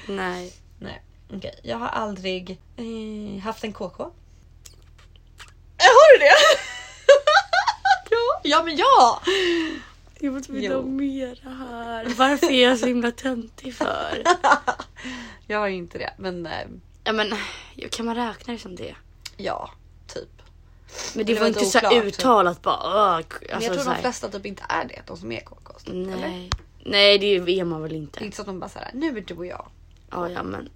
Nej. nej, okej. Jag har aldrig eh, haft en KK. Eh, Äh, Har du det? ja. ja men ja! Jag måste vilja Jo. ha mer här. Varför är jag så himla töntig för? Jag har ju inte det men eh, Ja men kan man räkna det som det? ja, typ. Men det Det var var inte lite så här oklart, typ. uttalat bara. "Åh, k-" Men Alltså, jag så tror de här, flesta typ inte är det, de som är KKs. typ, Eller? Nej. Nej det är man väl Det är inte. inte så att de bara såhär, nu är du och jag. Ja, ja men.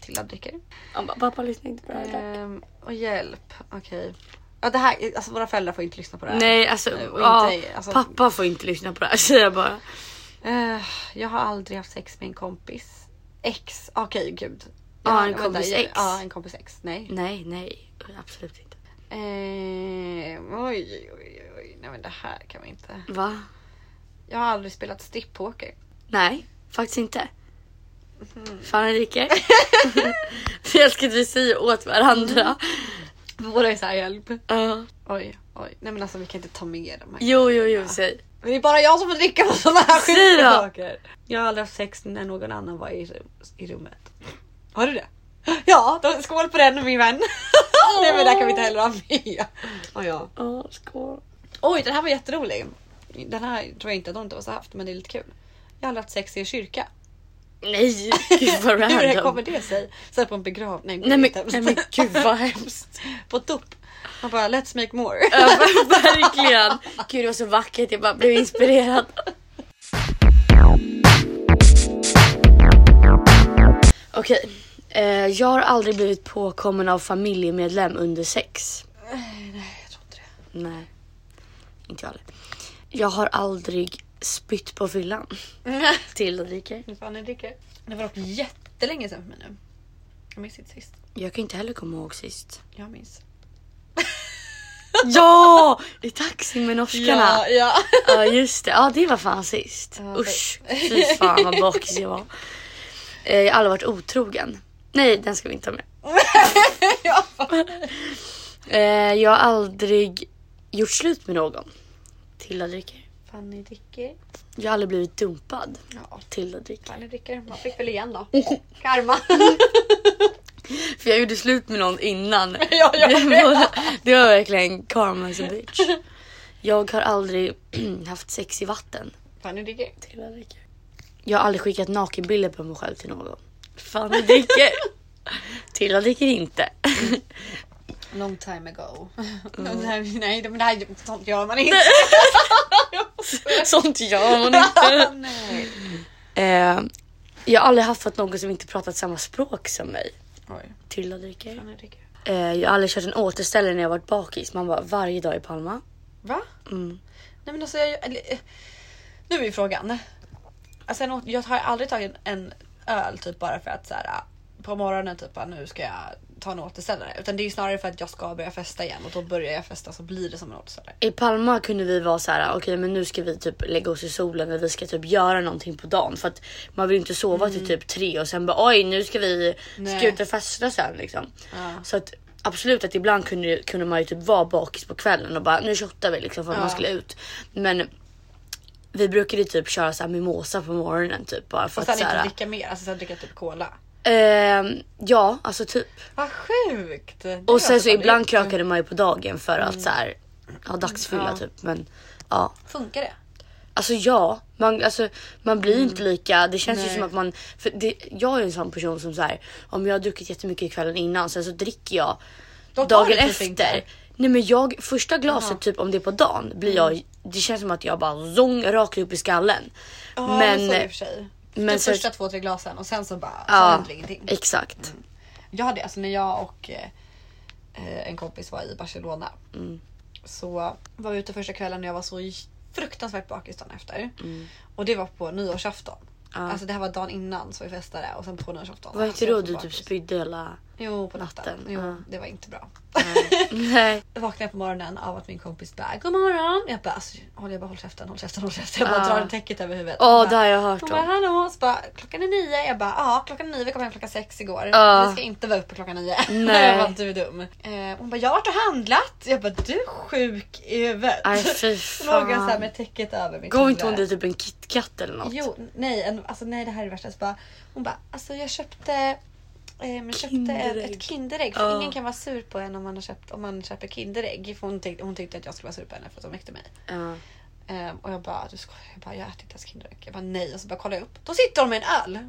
Tilda dricker. Han bara, pappa lyssnar inte på det här. Ehm, och hjälp, okej. Ja det här, alltså våra föräldrar får inte lyssna på det här. Nej alltså, Och inte- ja, alltså- pappa får inte lyssna på det här säger jag bara. Eh, jag har aldrig haft sex med en kompis. Ex, okej gud. Ja, Jag- en vänta, kompis jag- ex. Ja en kompis ex, nej. Nej nej absolut inte. Ehm, oj, oj, oj, oj, nej men det här kan vi inte. Va? Jag har aldrig spelat strippoker. Nej, faktiskt inte. Fan Enrique. jag älskar att vi säger åt varandra. Båda är såhär hjälp. Ja. Oj, oj. Nej men alltså vi kan inte ta med de här. Jo, jo, jo, säg. Men det är bara jag som får dricka på sådana här Säg sjuka då. saker. Jag har aldrig haft sex när någon annan var i, rum, i rummet. Har du det? Ja, då, skål på den min vän. Nej men det här kan vi inte heller ha med. Oh, ja. Ja, skål. Oj den här var jätterolig. Den här tror jag inte att någon av oss har haft men det är lite kul. Jag har aldrig haft sex i en kyrka. Nej, gud vad Hur kommer random. det sig? Så här på en begravning. Nej men, Det är nej men hemskt. gud vad hemskt. På ett dop. Man bara let's make more. Ja, ver- verkligen. Gud det var så vackert, jag bara blev inspirerad. Okej, eh, jag har aldrig blivit påkommen av familjemedlem under sex. Nej jag tror inte det. Nej, inte jag heller. Jag har aldrig spytt på fyllan. Till Ulrika. Nu fan jag dricker. Det var dock jättelänge sedan för mig nu. Jag minns inte sist. Jag kan inte heller komma ihåg sist. Jag minns. Ja! I taxin med norskarna. Ja, ja. just det. Ja det var fan sist. Ja, det- Usch, fy fan vad bakis jag var. Eh, Jag har aldrig varit otrogen. Nej, den ska vi inte ha med. Eh, Jag har aldrig gjort slut med någon. Tilda dricker. Fanny dricker. Jag har aldrig blivit dumpad. Ja. Tilda dricker. Fanny dricker. Man fick väl igen då. Karma. För jag gjorde slut med någon innan. ja, ja. det, var, det var verkligen karma as a bitch. Jag har aldrig haft sex i vatten. Fanny dricker. Jag har aldrig skickat nakenbilder på mig själv till någon. Fan jag dricker. Tilda dricker inte. Long time ago. Mm. nej, nej, men det här sånt gör man inte. Sånt gör man inte. nej. Eh, jag har aldrig haft någon som inte pratat samma språk som mig. Oj. Tilda dricker. Fanny dricker. Eh, jag har aldrig kört en återställare när jag varit bakis. Man bara varje dag i Palma. Va? Mm. Nej men alltså jag... eller, eh, Nu är ju frågan. Alltså, jag har aldrig tagit en öl typ bara för att så här, på morgonen typ bara, nu ska jag ta en återställare. Utan det är ju snarare för att jag ska börja festa igen och då börjar jag festa så blir det som en återställare. I Palma kunde vi vara så här, okej men nu ska vi typ lägga oss i solen och vi ska typ göra någonting på dagen för att man vill ju inte sova till typ tre och sen bara oj nu ska vi ska Mm. Nej. ut och festa sen liksom. Ja. Så att absolut att ibland kunde, kunde man ju typ vara bakis på kvällen och bara nu shottar vi liksom för att man Ja. skulle ut. Men vi brukade typ köra så här mimosa på morgonen typ bara för Och att sen så inte här, dricka mer, alltså sen dricka typ cola. ehm, Ja alltså typ. Vad sjukt! Det alltså Och sen låter så fan- ibland det- krökade man ju på dagen för att så här ha dagsfylla Mm. Ja. typ men ja. Funkar det? Alltså ja, man, alltså, man blir inte lika. Det känns ju Mm. Nej. som att man... För det, jag är ju en sån person som så här, om jag har druckit jättemycket kvällen innan sen så dricker jag Då tar dagen det typ efter. inte. Nej men jag, första glaset typ om det är på dagen blir Mm. jag... Det känns som att jag bara zong rakt upp i skallen. Ja, men, så är det i och för sig. men Men så- första två, tre glasen och sen så bara, sen ja, händer ingenting. exakt. Mm. Jag hade alltså när jag och eh, eh, en kompis var i Barcelona. Mm. Så var vi ute första kvällen och jag var så fruktansvärt bakis dagen efter. Mm. Och det var på nyårsafton. Alltså det här var dagen innan så vi festade och sen på nyårsafton. Var Alltså, inte jag då så du typ bakis. spydde hela... Jo, på natten. natten? Jo, Ja. det var inte bra. Nej. Jag vaknade på morgonen av att min kompis bara God morgon. Jag bara, alltså, håll, jag bara håll käften, håll käften, håll käften. Jag bara Ja. drar täcket över huvudet. Åh, Hon det har jag bara, hört Hon bara om. hallå. Så bara, klockan är nio. Jag bara ja klockan är nio. Vi kom hem klockan sex igår. Ja. Vi ska inte vara uppe klockan nio. Nej. jag bara, du är dum. Eh, hon bara jag har varit och handlat. Jag bara du är sjuk i huvudet. Aj fy Låg jag såhär fan. med täcket över mitt Gav inte hon dig typ en KitKat eller något? Jo, nej, en, alltså, nej det här är det värsta. Så bara, hon bara, alltså jag köpte, eh, jag köpte ett, Kinderägg. ett Kinderägg. För Ja. ingen kan vara sur på en om man, har köpt, om man köper Kinderägg. För hon, tyckte, hon tyckte att jag skulle vara sur på henne för att hon väckte mig. Ja. Eh, och jag bara, du skojar. Jag bara, jag äter inte ens Kinderägg. Jag bara, nej. Och så bara kollar jag upp. Då sitter hon med en öl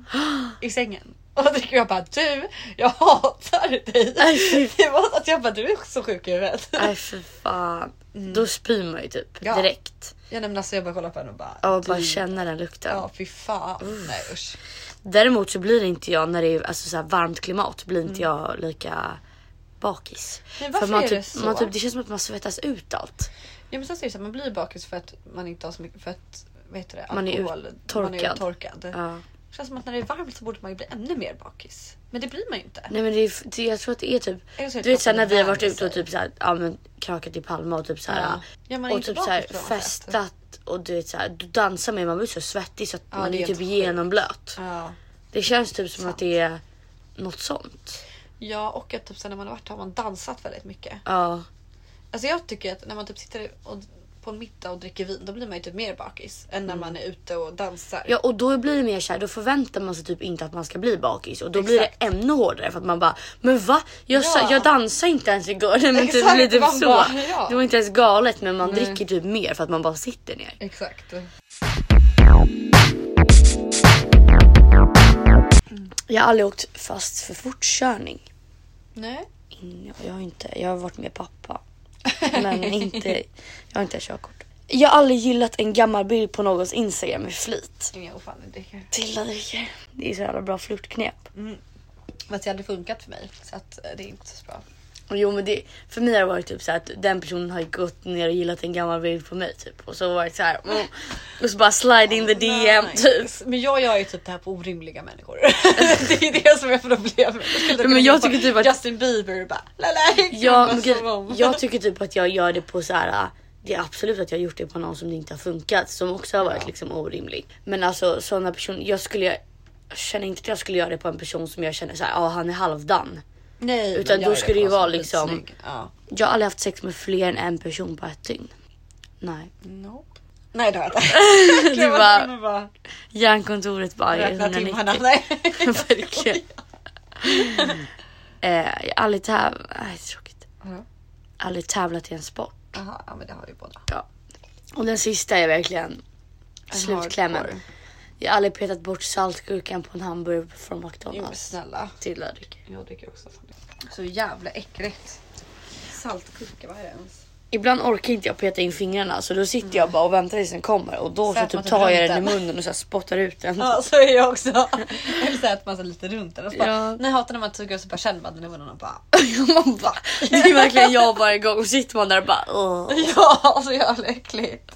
i sängen. Och då dricker jag bara, du, jag hatar dig. Aj, fy. Det var så att jag bara, du är så sjuk i huvudet. Nej fy fan. Då spyr man ju typ Mm. Ja. Typ. direkt. Jag nämnde alltså, jag bara kollar på henne och bara, Ja, och bara du- känna den lukten. Ja, fy fan. Nej usch. Däremot så blir inte jag när det är alltså, så här varmt klimat blir inte jag lika bakis. Mm. Men varför man är typ, det så? Man typ, det känns som att man svettas ut allt. Ja men sen så är det så här, man blir bakis för att man inte har så mycket, för att vad heter det, Man är alkohol. Man är uttorkad. uttorkad. Ja. Det känns som att när det är varmt så borde man ju bli ännu mer bakis. Men det blir man ju inte. Nej men det är, det, jag tror att det är typ. Eller så är Du det vet bara såhär när vi har varit värme i ute och sig. typ såhär, ja men krakat i Palma och typ såhär. Ja. Ja, man är och inte typ bakis såhär på något sätt. festat och du vet såhär, du dansar med man blir så svettig så att Ja, man det är är typ helt sjukt. genomblöt. Ja. Det känns typ som att det är något sånt. Ja och att typ sen när man har varit har man dansat väldigt mycket. Ja. Alltså jag tycker att när man typ sitter och, på en middag och dricker vin då blir man ju typ mer bakis än när man är ute och dansar. Mm. Ja och då blir det mer såhär, då förväntar man sig typ inte att man ska bli bakis och då blir det Exakt. ännu hårdare för att man bara men va? Jag, sa, Ja. jag dansade inte ens igår. Nej, men typ, Exakt, lite man så. bara, ja. Det var inte ens galet men man dricker typ mer för att man bara sitter ner. Exakt. Jag har aldrig åkt fast för fortkörning. Nej. In- Jag har, inte, jag har varit med pappa men inte, jag har inte körkort. Jag har aldrig gillat en gammal bild på någons instagram med flit. Jo fan det dricker. Tilda dricker. Det är så jävla bra flörtknep. Fast det har aldrig funkat för mig så att eh, det är inte så bra. Jo men det, för mig har det varit typ så här att den personen har gått ner och gillat en gammal bild på mig typ och så varit så här mm, och så bara slide in the DM typ. Nice. Men jag gör ju typ det här på orimliga människor. det är det som är problemet. Ja, men jag tycker typ att- Justin Bieber bara lala, Jag, jag, men gud, jag tycker typ att jag gör det på så här. Det är absolut att jag har gjort det på någon som det inte har funkat som också har varit liksom orimlig. Men alltså sådana personer, jag skulle jag känner inte att jag skulle göra det på en person som jag känner så här, ja han är halvdan. Nej, Utan men då jag skulle det är ju på vara som liksom- skitsnygg. Ja. Jag har aldrig haft sex med fler än en person på ett dygn. Nej. Nope. Nej det har jag inte. Du Jag bara- kunde bara Hjärnkontoret bara är räkna timmarna. 190. Nej. Verkligen. Eh, jag har aldrig tävlat. Nej, tråkigt. Ja. Aldrig tävlat i en sport. Jaha, ja men det har vi båda. Ja. Och den sista är verkligen En slutklämmen. hardcore. Jag har aldrig petat bort saltgurkan på en hamburgare från McDonalds. Jo snälla. Till Ludvig. Jag dricker också fan. Så jävla äckligt. Saltgurka, vad är det ens? Ibland orkar inte jag peta in fingrarna så då sitter jag bara och väntar tills den kommer och då Så så Mm. att man typ tar tar jag runt den i den. munnen och så här spottar ut den. Ja så är jag också. Eller så att man så lite runt den och så bara, Ja. Nej jag hatar när man tuggar och så bara känner man den i munnen och bara man bara, det är verkligen jag varje gång och sitter man där och bara åh. Ja så jävla äckligt.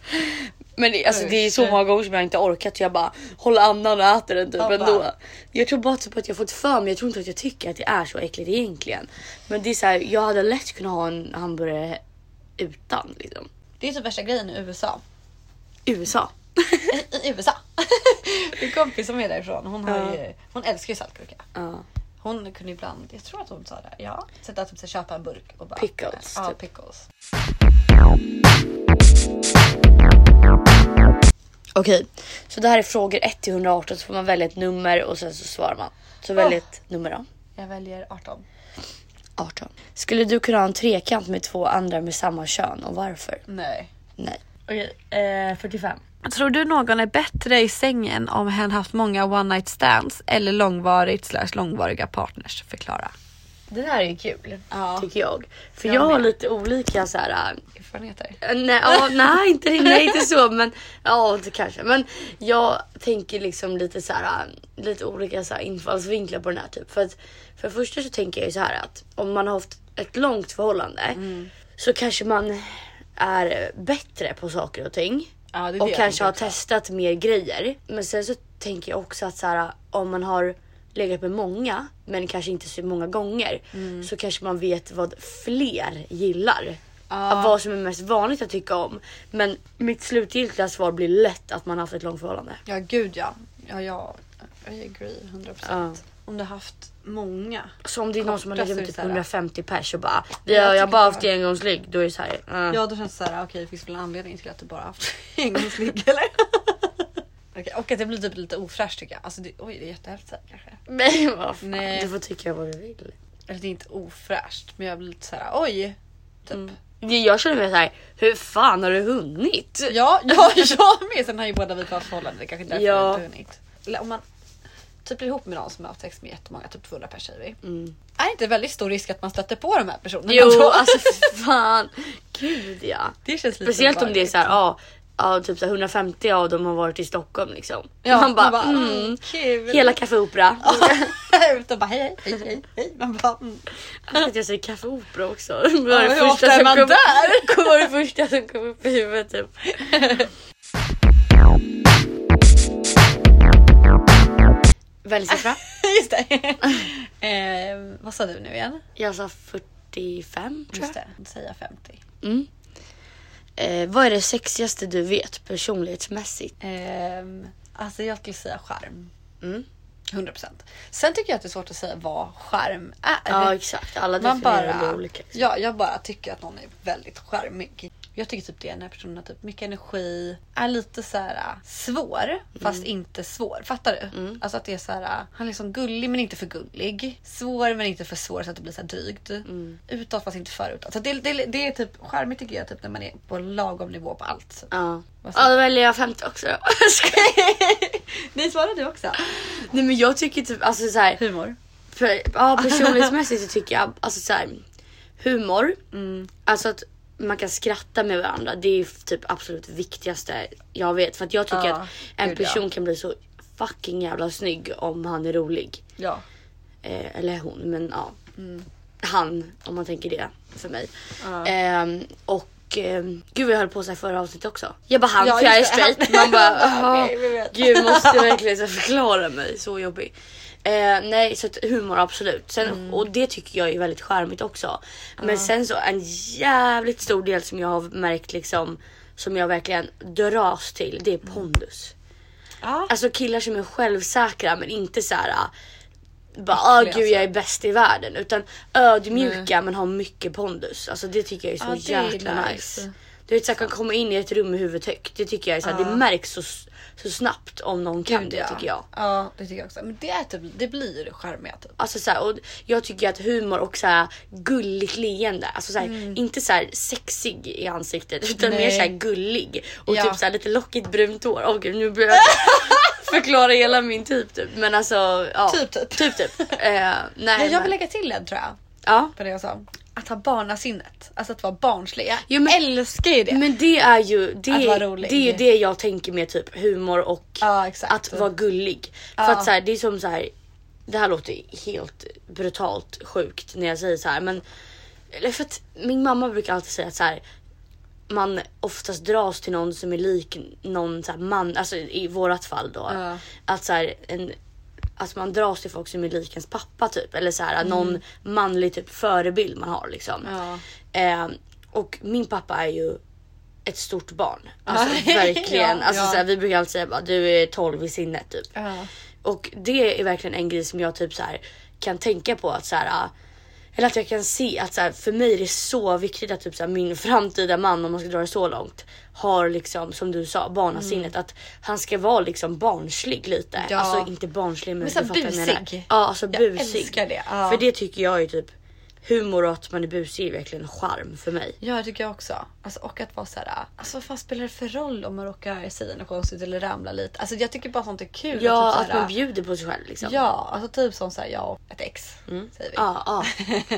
Men det, alltså, det är så Usch. många gånger som jag inte har orkat. Jag bara håller andan och äter den typ Ja, ändå. bara. Jag tror bara typ att jag fått för mig. Jag tror inte att jag tycker att det är så äckligt egentligen. Men det är så här, jag hade lätt kunnat ha en hamburgare utan liksom. Det är typ värsta grejen i USA. USA. I, i USA. Min kompis som är därifrån hon, har ju, hon älskar ju saltgurka. Ja. Hon kunde ibland, jag tror att hon sa det, ja. Sätta typ så här, köpa en burk och bara. Pickles, Ja, typ. pickles. Okej, så det här är frågor 1 till 118 så får man välja ett nummer och sen så svarar man. Så välj Ah. ett nummer då. Jag väljer 18. 18. Skulle du kunna ha en trekant med två andra med samma kön och varför? Nej. Nej. Okej. eh, 45. Tror du någon är bättre i sängen om hen haft många one night stands eller långvarigt slash långvariga partners? Förklara. Det här är ju kul Ja. tycker jag. För Jag jag, har med. lite olika så här. eh, Erfarenheter. äh, Nej, ja, nej, inte, nej inte så men ja det kanske. Men jag tänker liksom lite så här äh, lite olika så här infallsvinklar på den här typ. För att för det första så tänker jag ju så här att om man har haft ett långt förhållande så kanske man är bättre på saker och ting. Ja, det är det och jag kanske tänker har också. testat mer grejer. Men sen så tänker jag också att så här, om man har legat med många men kanske inte så många gånger Mm. så kanske man vet vad fler gillar. Ja. Vad som är mest vanligt att tycka om. Men mitt slutgiltiga svar blir lätt att man har haft ett långt förhållande. Ja gud ja. Ja jag, jag agree 100%. Ja. Om du har haft många. Så om det är någon som har Korta legat med så är det typ så här. 150 pers och bara vi Jag har, jag har tycker bara det haft var- det engångsligg. Då är det så här. eh. Ja då känns det såhär, okej det finns väl en anledning till att du bara haft engångsligg eller? Okej, och att det blir typ lite ofräscht tycker jag. Alltså det, oj det är jättehäftigt så här, kanske. Men vad fan. Nej. Du får tycka vad du vill. Eller det är inte ofräscht men jag blir lite såhär oj. Typ. Jag känner mig så här. hur fan har du hunnit? Ja, ja jag med. Sen har ju båda vi varit förhållanden. Det kanske är därför Ja. vi inte hunnit. Eller om man typ blir ihop med någon som har haft sex med jättemånga, typ 200 personer säger vi. Är det inte väldigt stor risk att man stöter på de här personerna? Mm. Jo då? alltså fan. Gud ja. det känns lite Speciellt om det är obehagligt. så här, ja, ja typ så här 150 av dem har varit i Stockholm liksom. Ja, man bara, mm, mm, kul. hela Café Opera. Ut och bara hej, hej, hej, hej. Man bara, mm. Att jag säger Café Opera också. Det var Ja, det hur ofta första är som man kom, där? det var det första som kom upp i huvudet typ. Välj siffra. Just det. eh, vad sa du nu igen? Jag sa 45 tror Just jag. Mm. det, då säger jag 50. Eh, vad är det sexigaste du vet personlighetsmässigt? Ehm, alltså jag skulle säga skärm. Mm. 100%. Sen tycker jag att det är svårt att säga vad skärm är. Ja exakt, alla Man definierar bara, det olika. liksom. ja, jag bara tycker att någon är väldigt charmig. Jag tycker typ det när personen har typ mycket energi, är lite så här äh, svår fast Mm. inte svår. Fattar du? Alltså att det är så här, äh, han är liksom gullig men inte för gullig. Svår men inte för svår så att det blir så här drygt. Mm. Utåt fast inte för utåt. Så det, det, det är typ charmigt tycker jag typ när man är på lagom nivå på allt. Ja. Vad sa Ja då väljer jag 50 också då. Nej svarade du också? Nej men jag tycker typ alltså så här, Humor. per, ja, personlighetsmässigt så tycker jag alltså så här, humor. Mm. Alltså att man kan skratta med varandra. Det är f- typ absolut viktigaste jag vet för att jag tycker Ja, att en gud, ja. person kan bli så fucking jävla snygg om han är rolig. Ja. Eh, eller hon, men ja. Han, om man tänker det för mig. Mm. Ja. Ehm, och ehm, gud vad jag höll på så här förra avsnittet också. Jag bara han Ja, för jag är just det, han. straight. Man bara Okej, "Jaha, vi vet." gud måste jag verkligen så här förklara mig. Så jobbig. Eh, nej så att humor absolut. Sen, Mm. Och det tycker jag är väldigt charmigt också. Men sen så en jävligt stor del som jag har märkt liksom som jag verkligen dras till det är Mm. pondus. Ja. Alltså killar som är självsäkra men inte så här äh, bara ah gud Äckliga, alltså." jag är bäst i världen utan ödmjuka men har mycket pondus. Alltså det tycker jag är så Ja, det är jäkla nice. nice. Du vet såhär kan komma in i ett rum med huvudet högt. Det tycker jag är såhär, det märks så, så snabbt om någon kan Gud, det ja. tycker jag. Ja det tycker jag också. Men det, är typ, det blir charmiga typ. Alltså såhär, och jag tycker att humor och såhär, gulligt leende, alltså såhär, inte såhär sexig i ansiktet utan Mm. Nej. mer såhär gullig och Ja. typ såhär, lite lockigt brunt hår. Åh gud nu börjar jag förklara hela min typ typ. Men alltså ja. Typ, typ. typ, typ. Eh, nej, Nej, jag men- vill lägga till en tror jag. ja. På det jag sa. Att ha barnasinnet. Alltså att vara barnslig. Jag Jo, men- älskar ju det. Men det är ju det, Att vara rolig. det, är ju det jag tänker med typ humor och Ja, exakt. att vara gullig. För att så här, det är som så här. Det här låter helt brutalt sjukt när jag säger så här, men eller för att min mamma brukar alltid säga att så här. man oftast dras till någon som är lik någon så här man, alltså i vårat fall då. Ja. Att så här, en, alltså man dras till folk som är lik ens pappa typ. Eller så här, någon manlig typ förebild man har liksom. Mm. Ja. Eh, och min pappa är ju ett stort barn. Alltså Ja. verkligen. Ja. Alltså, Så här, vi brukar alltid säga bara, du är 12 i sinnet typ. Ja. Och det är verkligen en grej som jag typ så här kan tänka på att så här. ah, Eller att jag kan se att så här, för mig är det så viktigt att typ så här, min framtida man, om man ska dra det så långt, har liksom som du sa barnasinnet. Att han ska vara liksom barnslig lite. Mm. Ja. Alltså inte barnslig men, så här du fattar vad jag menar. busig. Ja alltså Jag busig. älskar det, ja. För det tycker jag är typ humor och att man är busig är verkligen charm för mig. Ja, det tycker jag också. Alltså, och att vara så här, alltså vad fan spelar det för roll om man råkar säga något konstigt eller ramla lite? Alltså jag tycker bara sånt är kul. Ja typ så att här, man bjuder på sig själv liksom. Ja, alltså typ som så här, jag och ett ex säger vi. Mm. Ja, ja.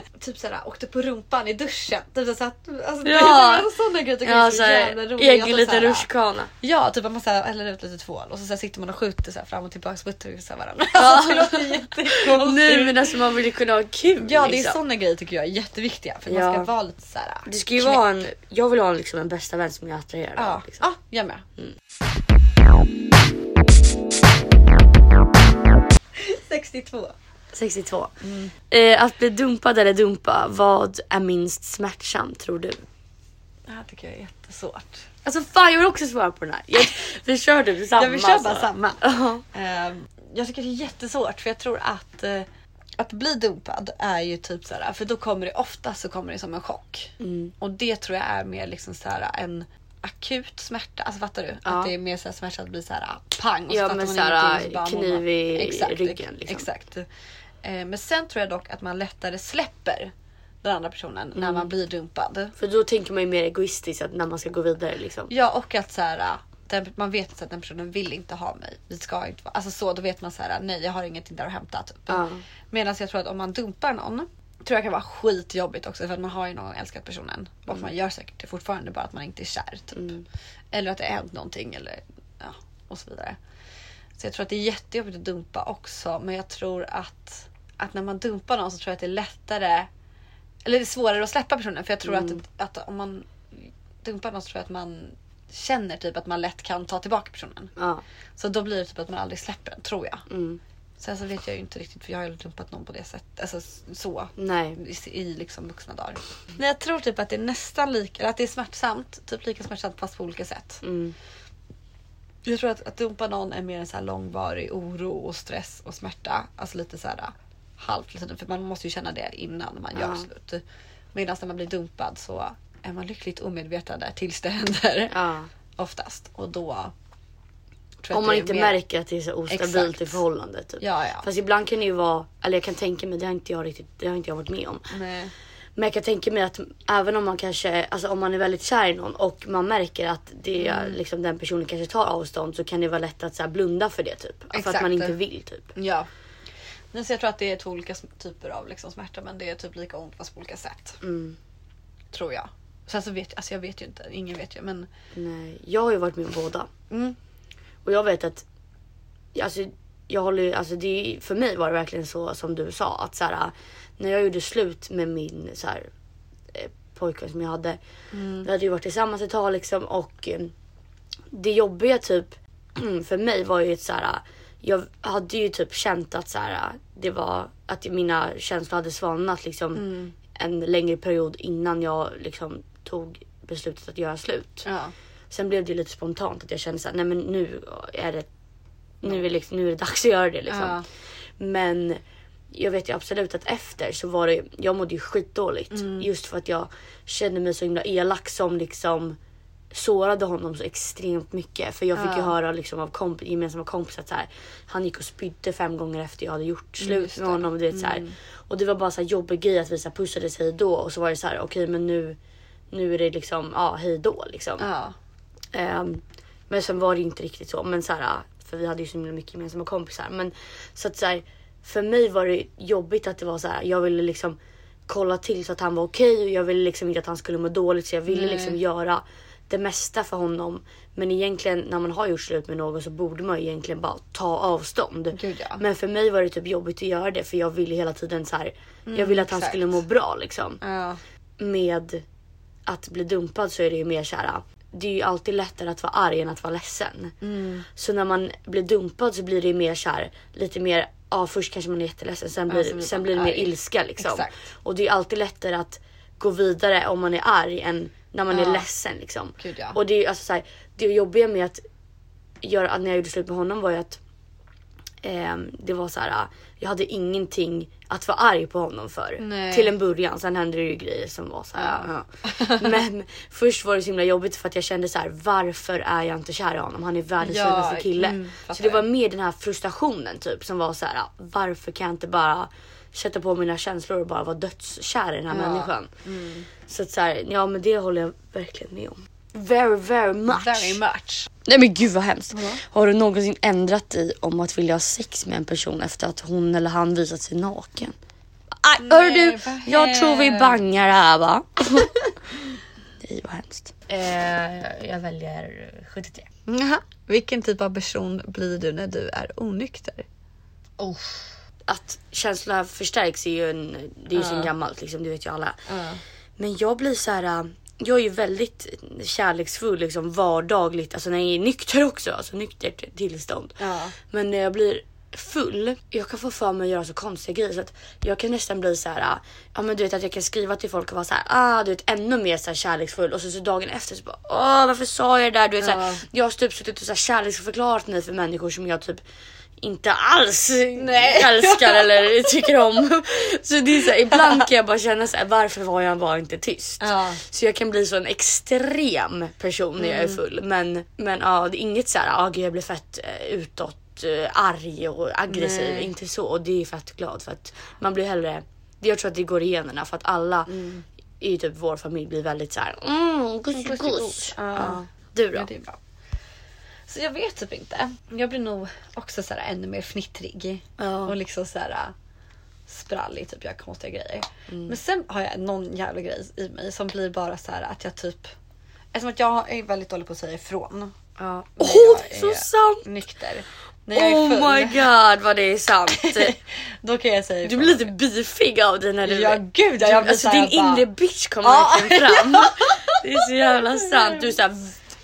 Typ så här, åkte på rumpan i duschen. Typ så här, alltså, Ja. alltså, sådana grejer tycker jag ja är så så här, jävla roligt. Alltså, egen så här, liten rutschkana. Ja, typ att man så här, häller ut lite tvål och så, så här, sitter man och skjuter så här, fram och tillbaka på så här, varandra. Alltså, det låter Nej jättekonstigt. men alltså man vill ju kunna ha kul Ja, det är liksom. sådana grejer tycker jag är jätteviktiga för att Ja. man ska vara lite så här. Det ska ju vara en, jag vill ha en, liksom, en bästa vän som jag attraherar Ja, av. Liksom. ja jag med. Mm. 62. 62. Eh, att bli dumpad eller dumpa, vad är minst smärtsamt tror du? Det här tycker jag är jättesvårt. Alltså fan jag vill också svara på den här. Jag, vi kör typ samma. Ja, vi kör bara alltså. samma. Ja. Ehm, jag tycker det är jättesvårt för jag tror att eh, att bli dumpad är ju typ så här, för då kommer det ofta så kommer det som en chock. Mm. Och det tror jag är mer liksom så här en akut smärta. Alltså fattar du? Ja. Att det är mer så här smärta att bli så här ah, pang och Ja, så fattar men man så här, ingenting, bara kniv man bara- i ryggen, liksom. Exakt. Eh, men sen tror jag dock att man lättare släpper den andra personen Mm. när man blir dumpad. För då tänker man ju mer egoistiskt att när man ska gå vidare liksom. Ja och att så här, den, man vet att den personen vill inte ha mig. Vi ska inte vara, alltså så då vet man så här, nej jag har ingenting där att hämta. Typ. Ja. Medan jag tror att om man dumpar någon tror jag kan vara skitjobbigt också för att man har ju någon älskat personen och man gör säkert det fortfarande bara att man inte är kär. Typ. Eller att det har hänt någonting eller ja, och så vidare. Så jag tror att det är jättejobbigt att dumpa också men jag tror att, att när man dumpar någon så tror jag att det är lättare eller det är svårare att släppa personen för jag tror att, att om man dumpar någon så tror jag att man känner typ att man lätt kan ta tillbaka personen. Ja. Så då blir det typ att man aldrig släpper den tror jag. Mm. Sen så vet jag ju inte riktigt för jag har ju aldrig dumpat någon på det sättet. Alltså så. Nej. I- I liksom vuxna dagar. Men jag tror typ att det är nästan lika, eller att det är smärtsamt. Typ lika smärtsamt fast på olika sätt. Mm. Jag tror att, att dumpa någon är mer en så här långvarig oro och stress och smärta. Alltså lite så här halvt hela tiden. För man måste ju känna det innan man gör Ja. slut. Medan när man blir dumpad så är man lyckligt omedveten där tills det händer. Ja. Oftast. Och då... tror jag att Om man det är inte mer- märker att det är så ostabilt Exakt. i förhållandet. Typ. Ja, ja. Fast ibland kan det ju vara, eller jag kan tänka mig, det har inte jag riktigt, det har inte jag varit med om. Nej. Men jag kan tänka mig att även om man kanske, alltså om man är väldigt kär i någon och man märker att det, Mm. liksom, den personen kanske tar avstånd så kan det vara lätt att så här, blunda för det typ. För att Exakt. man inte vill typ. Ja. Nej, så jag tror att det är två olika sm- typer av liksom smärta men det är typ lika ont fast på olika sätt. Tror jag. Sen så vet alltså jag vet ju inte, ingen vet ju men Nej, jag har ju varit med om båda. Mm. Och jag vet att, alltså, jag håller, ju- alltså det, för mig var det verkligen så som du sa. Att så här, när jag gjorde slut med min så här, eh, pojkvän som jag hade. Vi hade ju varit tillsammans ett tag liksom och eh, det jobbiga typ för mig var ju ett så här. Jag hade ju typ känt att så här, det var att mina känslor hade svalnat liksom en längre period innan jag liksom tog beslutet att göra slut. ja. Sen blev det ju lite spontant att jag kände såhär, nej men nu är det, nu är, liksom, nu är det dags att göra det liksom. Ja. Men jag vet ju absolut att efter så var det, jag mådde ju skitdåligt. Mm. Just för att jag kände mig så himla elak som liksom sårade honom så extremt mycket. För jag fick ju höra liksom av komp gemensamma kompisar att så här, han gick och spydde fem gånger efter jag hade gjort slut Mm, just med det. Mm. honom. Du vet, så här. Och det var bara så här jobbig grej att vi så här, pussades hej då och så var det så här okej men nu, nu är det liksom ja hej då liksom. ja. Ehm, men sen var det inte riktigt så. Men så här, för vi hade ju så himla mycket gemensamma kompisar. Men så att så här, för mig var det jobbigt att det var så här. Jag ville liksom kolla till så att han var okej och jag ville liksom inte att han skulle må dåligt så jag ville liksom göra det mesta för honom. Men egentligen när man har gjort slut med någon så borde man ju egentligen bara ta avstånd. Gud, ja. Men för mig var det typ jobbigt att göra det för Mm, jag ville hela tiden så här. jag ville att han exakt. skulle må bra liksom ja. med att bli dumpad så är det ju mer så här. Det är ju alltid lättare att vara arg än att vara ledsen. Mm. Så när man blir dumpad så blir det ju mer så här, lite mer, ja först kanske man är jätteledsen sen blir, så blir sen man blir det mer arg. ilska liksom. Exakt. Och det är ju alltid lättare att gå vidare om man är arg än när man är Ja. ledsen liksom. Gud, ja. Och det är ju alltså så här, det jobbiga med att göra, att när jag gjorde slut med honom var ju att ehm, det var så här, ah, jag hade ingenting att vara arg på honom för. Nej. Till en början, sen hände det ju grejer som var så här. ja. Men först var det så himla jobbigt för att jag kände så här, varför är jag inte kär i honom? Han är världens Ja, finaste kille. mm, så fattar det var jag. mer den här frustrationen typ som var så här, ah, varför kan jag inte bara sätta på mina känslor och bara vara dödskär i den här Ja. Mm. människan? Så att så här, ja men det håller jag verkligen med om. Very very much. Very much. Nej men gud vad hemskt. Har du någonsin ändrat dig om att vilja ha sex med en person efter att hon eller han visat sig naken? Aj, hör du, vad jag tror vi hemskt. bangar här va? Nej vad hemskt. Eh, jag väljer 73. Vilken typ av person blir du när du är onykter? Oh. Att känslorna förstärks är ju en, det är ju sen gammalt liksom, det vet ju alla. Ja. Men jag blir så här. äh, Jag är ju väldigt kärleksfull liksom vardagligt, alltså när jag är nykter också, alltså nyktert tillstånd. Ja. Men när jag blir full, jag kan få för mig att göra så konstiga grejer så att jag kan nästan bli så här, äh, ja men du vet att jag kan skriva till folk och vara så här, ah du vet ännu mer så här kärleksfull och så, så dagen efter så bara, åh varför sa jag det där? Du vet så här, Ja. jag har typ suttit och så här kärleksförklarat mig för människor som jag typ inte alls Nej. älskar eller tycker om. Så det är så här, ibland kan jag bara känna så här, varför var jag bara inte tyst? Ja. Så jag kan bli så en extrem person när jag Mm. är full. Men, men ja, det är inget så här, ah, gud, jag blir fett eh, utåt, eh, arg och aggressiv. Nej. Inte så. Och det är fett glad för att man blir hellre, det- jag tror att det går i generna för att alla Mm. i typ vår familj blir väldigt så här, mm, guss, guss. guss. Ja. Ja. Du då? Ja, det är bra. Så jag vet typ inte. Jag blir nog också så här ännu mer fnittrig. Ja. Och liksom så här äh, sprallig, typ gör konstiga grejer. Mm. Men sen har jag någon jävla grej i mig som blir bara så här att jag typ... Eftersom att jag är väldigt dålig på att säga ifrån. Ja. när Åh, jag så är sant! Nykter. När jag Oh är full, typ, my god vad det är sant. då kan jag säga Du ifrån. blir lite bifig av det när du... Ja gud ja, jag blir alltså så här din bara- inre bitch kommer Ja. verkligen fram. Det är så jävla sant. Du är såhär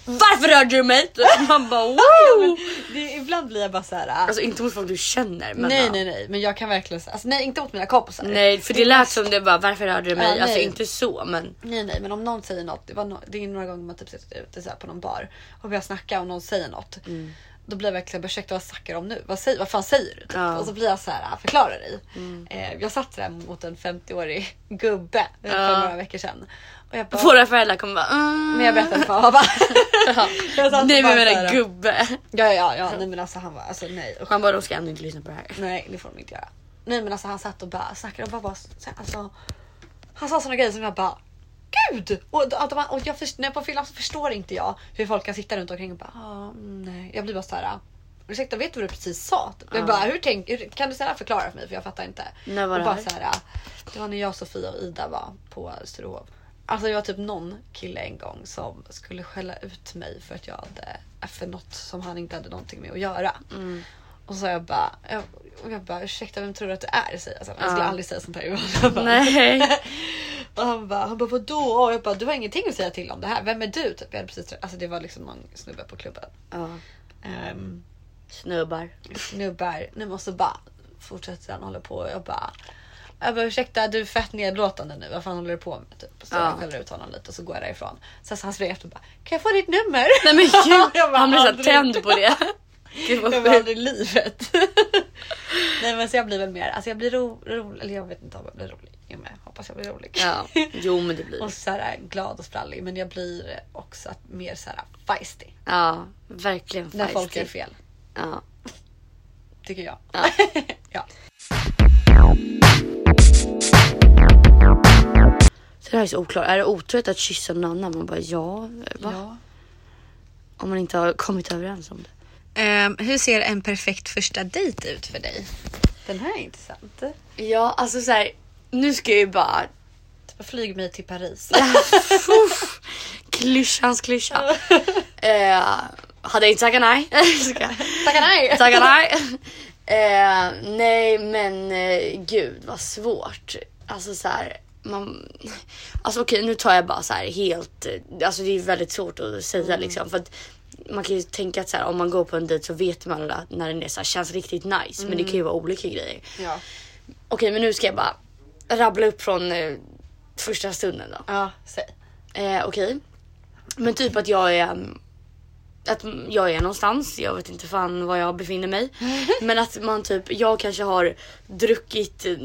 varför rörde du mig? Man bara Ja, men wow! det, ibland blir jag bara så här. äh, Alltså inte mot folk du känner men nej ja. nej nej men jag kan verkligen säga, alltså, nej inte mot mina kompisar. Nej, för det lät som det bara varför rörde du mig? Ja, alltså nej. inte så men Nej nej men om någon säger något, det, var no- det är några gånger man typ sitter ute så här på någon bar och börjar snacka och någon säger något. Mm. Då blir jag verkligen ursäkta vad snackar du om nu? Vad, säger, vad fan säger du? Typ. Ja. Mm. Och så blir jag så här, "Ah, förklara dig. Eh, jag satt där mot en 50-årig gubbe Ja. för några veckor sedan. Och jag bara, våra föräldrar kommer bara mm. men jag berättade för honom. jag satt och Nej men bara jag så här, menar gubbe. Ja ja ja, ja nej, men alltså han var alltså nej usch. Han bara de ska ändå inte lyssna på det här. Nej det får de inte göra. Nej men alltså han satt och bara snackade och bara, bara så- alltså, Han sa såna grejer som jag bara Gud! Och, att de, och jag, först- när jag på fyllan så förstår inte jag hur folk kan sitta runt omkring och bara ah, mm, nej. Jag blir bara såhär Ursäkta vet du vad du precis sa? Typ. Jag bara, hur tänk, hur, kan du snälla förklara för mig för jag fattar inte. När var och det bara här? så här, äh, det var när jag, Sofia och Ida var på Sturehof. Alltså det var typ någon kille en gång som skulle skälla ut mig för att jag hade äh, för något som han inte hade någonting med att göra. Mm. Och så jag bara, jag, och jag bara ursäkta vem tror du att du är? Säger jag, så här. jag skulle Ja. aldrig säga sånt här. Jag bara, Nej. och han bara, han bara vadå? Och jag bara du har ingenting att säga till om det här. Vem är du? Typ. Jag hade precis, alltså det var liksom någon snubbe på klubben. Ja, Ehm, snubbar. snubbar. Nu måste bara fortsätter han hålla på och jag bara jag bara ursäkta du är fett nedlåtande nu. Vad fan håller du på med? Typ. Så Ja. jag skäller ut honom lite och så går jag därifrån. Sen så han springer efter och bara kan jag få ditt nummer? Nej men Jag gud, bara, han blir såhär aldrig. tänd på det. Gud vad Jag bara sjukt. aldrig i livet. Nej men så jag blir väl mer, alltså jag blir rolig, ro, eller jag vet inte om jag blir rolig. Jo men jag hoppas jag blir rolig. Ja, jo men det blir det. Och så här glad och sprallig men jag blir också att- mer så här feisty. Ja, verkligen När folk feisty. gör fel. Ja. Tycker jag. Ja. ja. Så det här är så oklart. Är det otroligt att kyssa någon annan? Man bara ja, va? ja. Om man inte har kommit överens om det. Ehm, hur ser en perfekt första dejt ut för dig? Den här är intressant. Ja, alltså så här, nu ska jag ju bara Typ, flyg mig till Paris. Uff, klyschans klyscha. Eh, hade jag inte tackat nej. Ska jag- Tackar nej! Tackar nej. Eh, nej men eh, gud vad svårt. Alltså så här, man, alltså okej nu tar jag bara så här helt, eh, alltså det är väldigt svårt att säga liksom för att man kan ju tänka att så här, om man går på en dejt så vet man alla när den är så här, känns riktigt nice men det kan ju vara olika grejer. Ja. Okej men nu ska jag bara rabbla upp från eh, första stunden då. Ja, säg. Eh, Okej. Men typ att jag är... mm, Att jag är någonstans, jag vet inte fan var jag befinner mig. Men att man typ, jag kanske har druckit eh,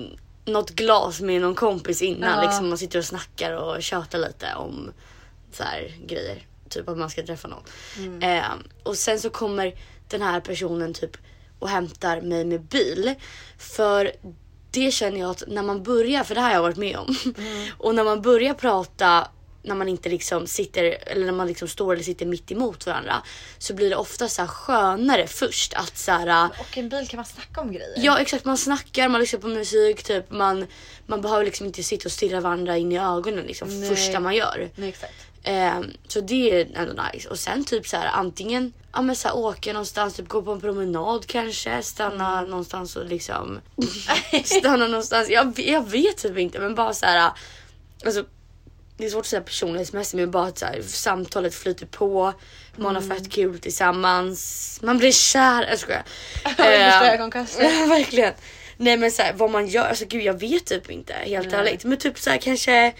något glas med någon kompis innan. Ja. Liksom man sitter och snackar och tjötar lite om så här grejer. Typ att man ska träffa någon. Eh, och sen så kommer den här personen typ och hämtar mig med bil. För det känner jag att när man börjar, för det här har jag varit med om. Och när man börjar prata när man inte liksom sitter eller när man liksom står eller sitter mitt emot varandra så blir det ofta så här skönare först att så här, Och en bil kan man snacka om grejer. Ja exakt, man snackar, man lyssnar på musik, typ man, man behöver liksom inte sitta och stirra varandra in i ögonen liksom Nej. första man gör. Nej, exakt. Eh, så det är ändå nice. Och sen typ så här antingen ja, men så här, åka någonstans, typ gå på en promenad kanske, stanna någonstans och liksom stanna någonstans. Jag, jag vet typ inte men bara så här alltså det är svårt att säga personlighetsmässigt men bara att så här, samtalet flyter på, man har fett kul tillsammans, man blir kär. Jag skojar. Värsta Eh, ögonkastet. Ja, verkligen. Nej men såhär vad man gör, alltså gud jag vet typ inte helt ärligt. Men typ såhär kanske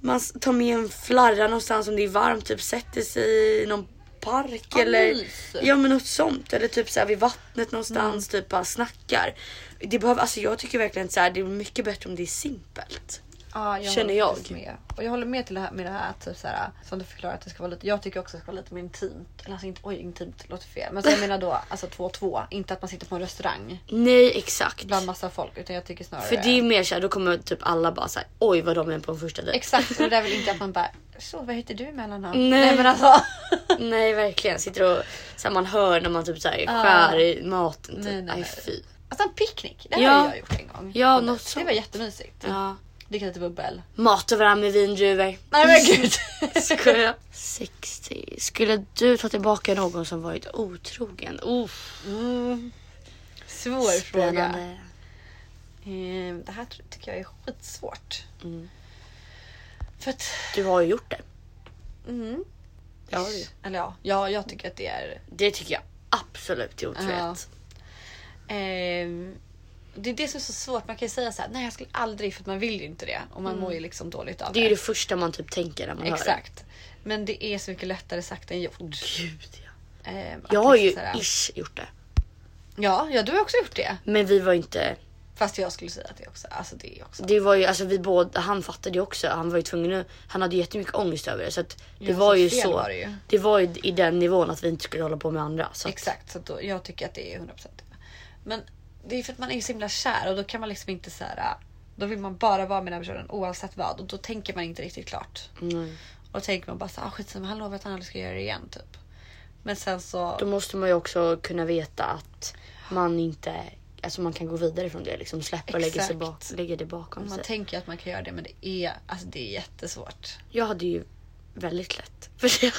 man s- tar med en flarra någonstans om det är varmt, typ sätter sig i någon park Ja, eller mys. ja men något sånt. Eller typ såhär vid vattnet någonstans, typ bara snackar. Det behöver, alltså jag tycker verkligen såhär det är mycket bättre om det är simpelt. Ja, jag Känner håller jag. faktiskt Med. Och jag håller med till det här, med det här att typ så här, som du förklarar att det ska vara lite. Jag tycker också att det ska vara lite mer intimt. Eller alltså inte, oj intimt låter fel. Men så jag menar då alltså 2-2. Inte att man sitter på en restaurang Nej exakt. bland massa folk. Utan jag tycker snarare. För det är mer såhär då kommer typ alla bara såhär oj vad de är på en första dejt. Exakt och det där vill inte att man bara. Så vad heter du emellanåt? Nej. men alltså. Nej verkligen, sitter och såhär, man hör när man typ såhär skär i maten. Typ. Nej, nej, Aj, nej. fy. Alltså en picknick. Det har Ja. jag gjort en gång. Ja, Och något Det sånt. var jättemysigt. Ja. Dricka lite bubbel. Mata varandra med vindruvor. Nej men gud. Skoja. 60. Skulle du ta tillbaka någon som varit otrogen? Oh, Mm. Svår fråga. spännande. Ehm, Det här tr- tycker jag är skitsvårt. Mm. För att... Du har ju gjort det. Mm. Det har du ju. Eller ja, ja, jag tycker att det är... Det tycker jag absolut är otrohet. Ja. ehm, det är det som är så svårt. Man kan ju säga så här, nej jag skulle aldrig för att man vill ju inte det. Och man mår ju liksom dåligt av Mm. Det är ju det första man typ tänker när man hör Exakt. Men det är så mycket lättare sagt än gjort. det. Gud, ja. Ehm, att Jag har ju liksom så här- ish gjort det. Ja, ja, du har också gjort det. Men vi var inte... Fast jag skulle säga att det också, alltså det är också. Det var ju, alltså vi båda, han fattade ju också. Han var ju tvungen att, Han hade ju jättemycket ångest över det. Så att det Ja, var så ju fel så. var det ju. det var ju i den nivån att vi inte skulle hålla på med andra. Så att, Exakt, så att då, jag tycker att det är 100% det. Men det är för att man är så himla kär och då kan man liksom inte så här. Då vill man bara vara med den här personen oavsett vad och då tänker man inte riktigt klart. Nej. Och då tänker man bara så här, ah, skitsamma han lovade att han aldrig ska göra det igen typ. Men sen så. Då måste man ju också kunna veta att man inte, alltså man kan gå vidare från det liksom släppa och lägga, sig Exakt. bak, lägga det bakom Man sig. tänker att man kan göra det men det är, alltså det är jättesvårt. Jag hade ju väldigt lätt för det.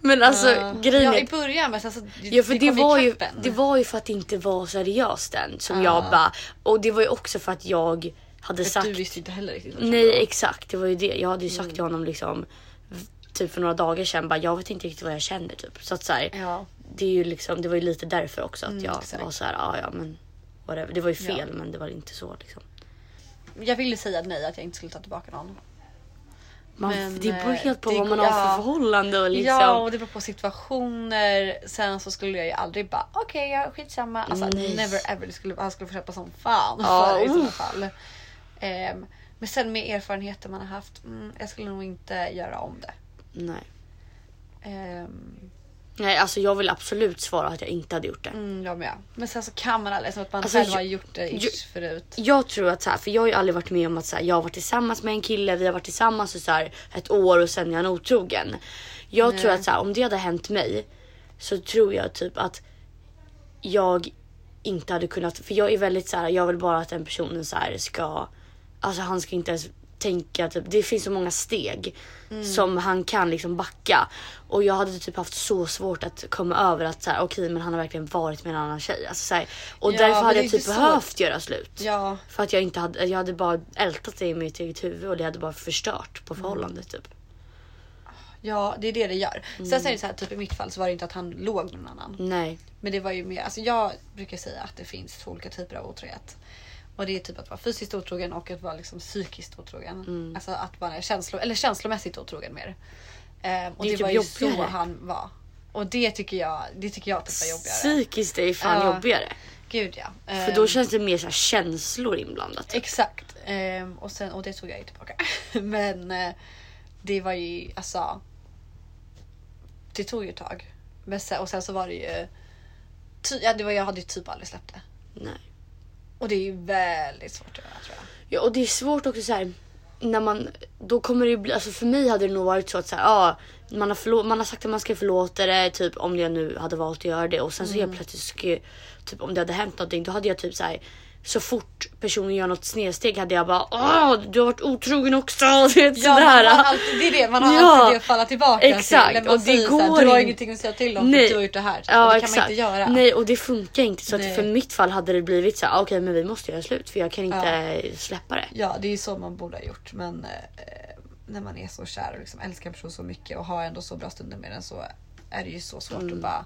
Men alltså grejen ja, är i början men sen så. Ja för det, kom var ju, ikapp en. det var ju för att det inte var seriöst än som jag bara och det var ju också för att jag hade För att sagt Du Mm. visste inte heller riktigt. vad som Nej var. exakt, det var ju det. Jag hade ju sagt till honom liksom v- typ för några dagar sedan bara jag vet inte riktigt vad jag känner typ. Så att så här, Ja. det är ju liksom, det var ju lite därför också att jag Mm, exakt. var så här, "Ah, ja ja men whatever. Det var ju fel men det var inte så liksom. Jag ville säga nej att jag inte skulle ta tillbaka någon. Man, Men, det beror eh, helt på det vad man går- har för ja. förhållande och liksom. Ja, och det beror på situationer. Sen så skulle jag ju aldrig bara okej, ja, skitsamma. Alltså Nej. never ever. Det skulle, han skulle få köpa som fan Ja, oh. för det i sådana uff. fall. Ehm, men sen med erfarenheter man har haft, mm, jag skulle nog inte göra om det. Nej. Ehm, Nej alltså jag vill absolut svara att jag inte hade gjort det. mm, jag med. Men sen så kan man aldrig, som att man Alltså, själv ju- har gjort det ju- ish förut. Jag tror att så här, för jag har ju aldrig varit med om att så här, jag har varit tillsammans med en kille, vi har varit tillsammans i så här, ett år och sen är han otrogen. Jag tror att så här, om det hade hänt mig så tror jag typ att jag inte hade kunnat, för jag är väldigt så här, jag vill bara att den personen så här ska, alltså han ska inte ens tänka typ, det finns så många steg Mm. som han kan liksom backa. Och jag hade typ haft så svårt att komma över att så här, okej men han har verkligen varit med en annan tjej. Alltså, så här, och Ja, därför men hade det är jag typ inte så- behövt göra slut. Ja, För att jag inte hade, jag hade bara ältat det i mitt eget huvud och det hade bara förstört på förhållandet typ. ja, det är det det gör. Sen så är det så här, typ i mitt fall så var det inte att han låg med någon annan. Nej. Men det var ju mer, alltså jag brukar säga att det finns två olika typer av otrohet. Och det är typ att vara fysiskt otrogen och att vara liksom psykiskt otrogen. Mm. Alltså att man är känslo, eller känslomässigt otrogen mer. Ehm, och Det det, är typ var ju så jobbigare. han var. Och det tycker jag, det tycker jag typ var jobbigare. Psykiskt är ju fan Ja. jobbigare. Gud ja. För Ehm, då känns det mer så här känslor inblandat. Exakt. Ehm, och, sen, och det tog jag ju tillbaka. Men eh, det var ju alltså. Det tog ju ett tag. Men sen, och sen så var det ju. Ty, ja, det var, jag hade ju typ aldrig släppt det. Nej. Och det är ju väldigt svårt att göra tror jag. Ja, och det är svårt också så här när man då kommer det ju bli alltså för mig hade det nog varit så att så här, ja, man har förlå- man har sagt att man ska förlåta det typ om jag nu hade valt att göra det och sen så Mm. helt plötsligt skulle- typ om det hade hänt någonting då hade jag typ så här så fort personen gör något snedsteg hade jag bara åh du har varit otrogen också. Du vet, Ja, sådär. man har alltid, det är det, man har Ja. alltid det att falla tillbaka Exakt, till. När och Man det säger så går här, du har in- ingenting att säga till om för Nej. att du har gjort det här. Ja, och det exakt. kan man inte göra. Nej och det funkar inte. Så att Nej. för mitt fall hade det blivit så här, "Ah, okej men vi måste göra slut för jag kan inte släppa det. Ja, det är ju så man borde ha gjort. Men eh, när man är så kär och liksom älskar en person så mycket och har ändå så bra stunder med den så är det ju så svårt Mm. att bara...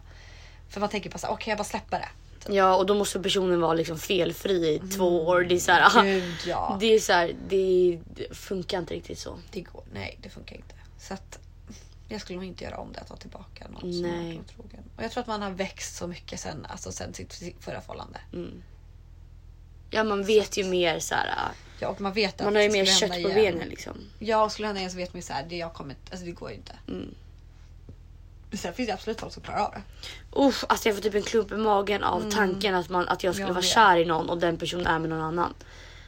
För man tänker bara såhär, okej jag bara släpper det. Ja och då måste personen vara liksom felfri i två år. Det är så här, Mm. Gud ja. det är så här, det funkar inte riktigt så. Det går, nej det funkar inte. Så att jag skulle nog inte göra om det att ta tillbaka någon som Nej. har varit otrogen. Och jag tror att man har växt så mycket sen, alltså sen sitt sitt förra förhållande. Ja man vet ju mer så här, Ja, och man vet att man har ju det mer skulle kött hända på igen. benen liksom. Ja, och skulle hända igen så vet man ju såhär, det, jag kommer, inte- alltså, det går ju inte. Mm. Sen finns det absolut folk som klarar av det. Uff, alltså jag får typ en klump i magen av tanken att, man, att jag skulle Mm. Jag vara vet. kär i någon och den personen är med någon annan.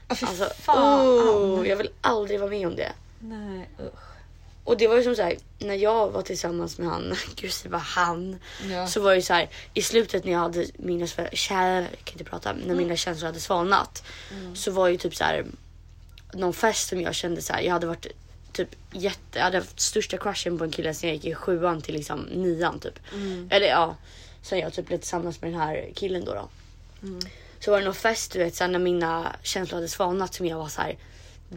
Alltså, fan. oh, jag vill aldrig vara med om det. Nej usch. Och det var ju som så här, när jag var tillsammans med han, gud det var han. Ja. Så var det ju så här, i slutet när jag hade mina, sva- kär, jag kan inte prata, när mina känslor hade svalnat. Så var ju typ så här, någon fest som jag kände så här, jag hade varit typ jätte, jag hade haft största crushen på en kille sen jag gick i sjuan till liksom nian typ. Eller ja, sen jag typ blev tillsammans med den här killen då. då. Så var det någon fest du vet sen när mina känslor hade svalnat som jag var så här.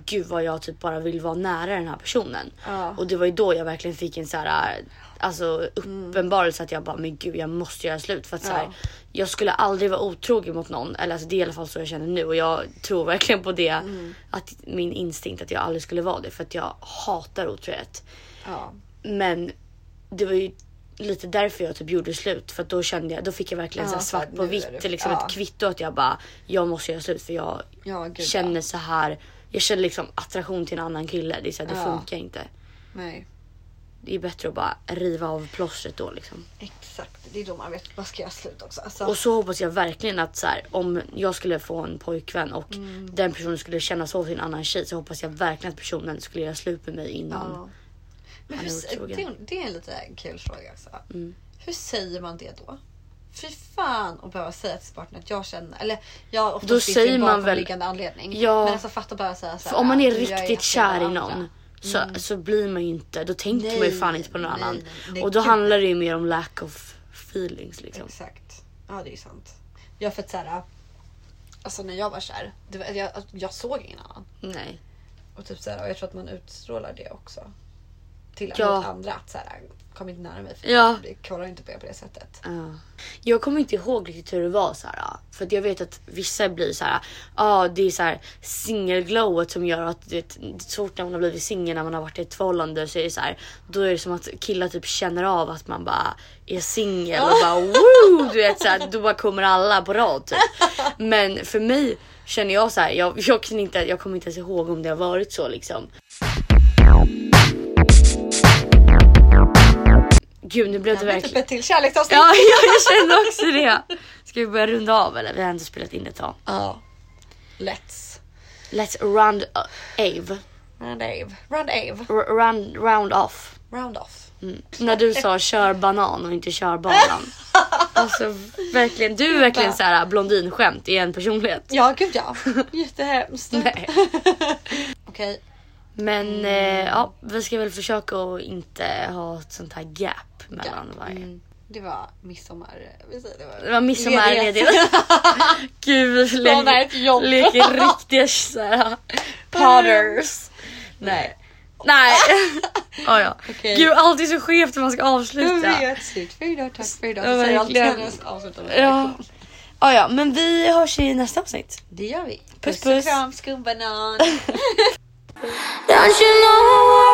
Gud vad jag typ bara vill vara nära den här personen. Ja. Och det var ju då jag verkligen fick en så här alltså uppenbarelse att jag bara men gud jag måste göra slut för att så här, Ja. jag skulle aldrig vara otrogen mot någon eller alltså det är i alla fall så jag känner nu och jag tror verkligen på det Mm. att min instinkt att jag aldrig skulle vara det för att jag hatar otrohet. Ja. Men det var ju lite därför jag typ gjorde slut för att då kände jag, då fick jag verkligen Ja, så här så här, svart på nu är vitt, det- liksom ja. ett kvitto att jag bara, jag måste göra slut för jag Ja, gud, ja. känner så här, jag känner liksom attraktion till en annan kille. Det, är så här, det Ja. funkar inte. Nej. Det är bättre att bara riva av plåstret då liksom. Exakt, det är då man vet vad ska jag slut också. Alltså, Och så hoppas jag verkligen att så här, om jag skulle få en pojkvän och Mm. den personen skulle känna så till en annan tjej så hoppas jag verkligen att personen skulle göra slut med mig innan. ja. Men Han är hur, otrogen. Mm. det, är- det är en lite kul fråga också. Hur säger man det då? Fy fan att behöva säga till sin partner att jag känner, eller jag oftast Då finns det ju säger en man väl- bakomliggande anledning. Ja. Men alltså fatta bara säga så här, För om man är "Du, jag riktigt jättebra kär i andra." någon så, så blir man ju inte, då tänker man ju Mm. Nej, fan inte på någon nej, annan. nej, nej, och då gud. handlar det ju mer om lack of feelings liksom. Exakt. Ja det är sant. Jag för att såhär, alltså när jag var kär, det var, jag, alltså, jag såg ingen annan. Nej. Och, typ såhär, och jag tror att man utstrålar det också. Till Ja. mot andra. Att såhär, kom inte nära mig för Ja. jag kollar inte på er på det sättet. Ja. Jag kommer inte ihåg riktigt hur det var så här. För att jag vet att vissa blir så här. Ja, det är så här singelglowet som gör att du vet, så fort när man har blivit singel när man har varit i ett förhållande så är det så här. Då är det som att killar typ känner av att man bara är singel och bara woo, du vet så här, då bara kommer alla på rad typ. Men för mig känner jag så här. Jag, jag kan inte. Jag kommer inte ens ihåg om det har varit så liksom. Gud, nu blev det Men typ verkligen. ett till kärleksavsnitt. Ja, ja, jag känner också det. Ska vi börja runda av eller? Vi har ändå spelat in ett tag. Ja. Let's. Let's round uh, Ave. Round Ave. Round Ave. R- round, round off. Mm. Round off. När du sa kör banan och inte kör banan. Alltså verkligen, du är verkligen så här blondinskämt i en personlighet. Ja, gud ja. Jättehemskt. Nej. Okej, Men eh, ja, vi ska väl försöka att inte ha ett sånt här gap mellan varje. mm, Det var midsommar... Vi säger det var... Det var midsommarledighet. Gud, vi Från ett jobb. leker, leker riktiga såhär. Potters. Nej. Nej. Ah, ja, ja. Okej. Gud, allt är så skevt när man ska Jag avsluta. vet. Slut för idag. Tack för idag. Ja, Vi säger alltid verkligen. hennes avslutande Ja. Ah, reaktion. ja, ja, men vi hörs i nästa avsnitt. Det gör vi. Puss, och puss. kram skumbanan. Don't you know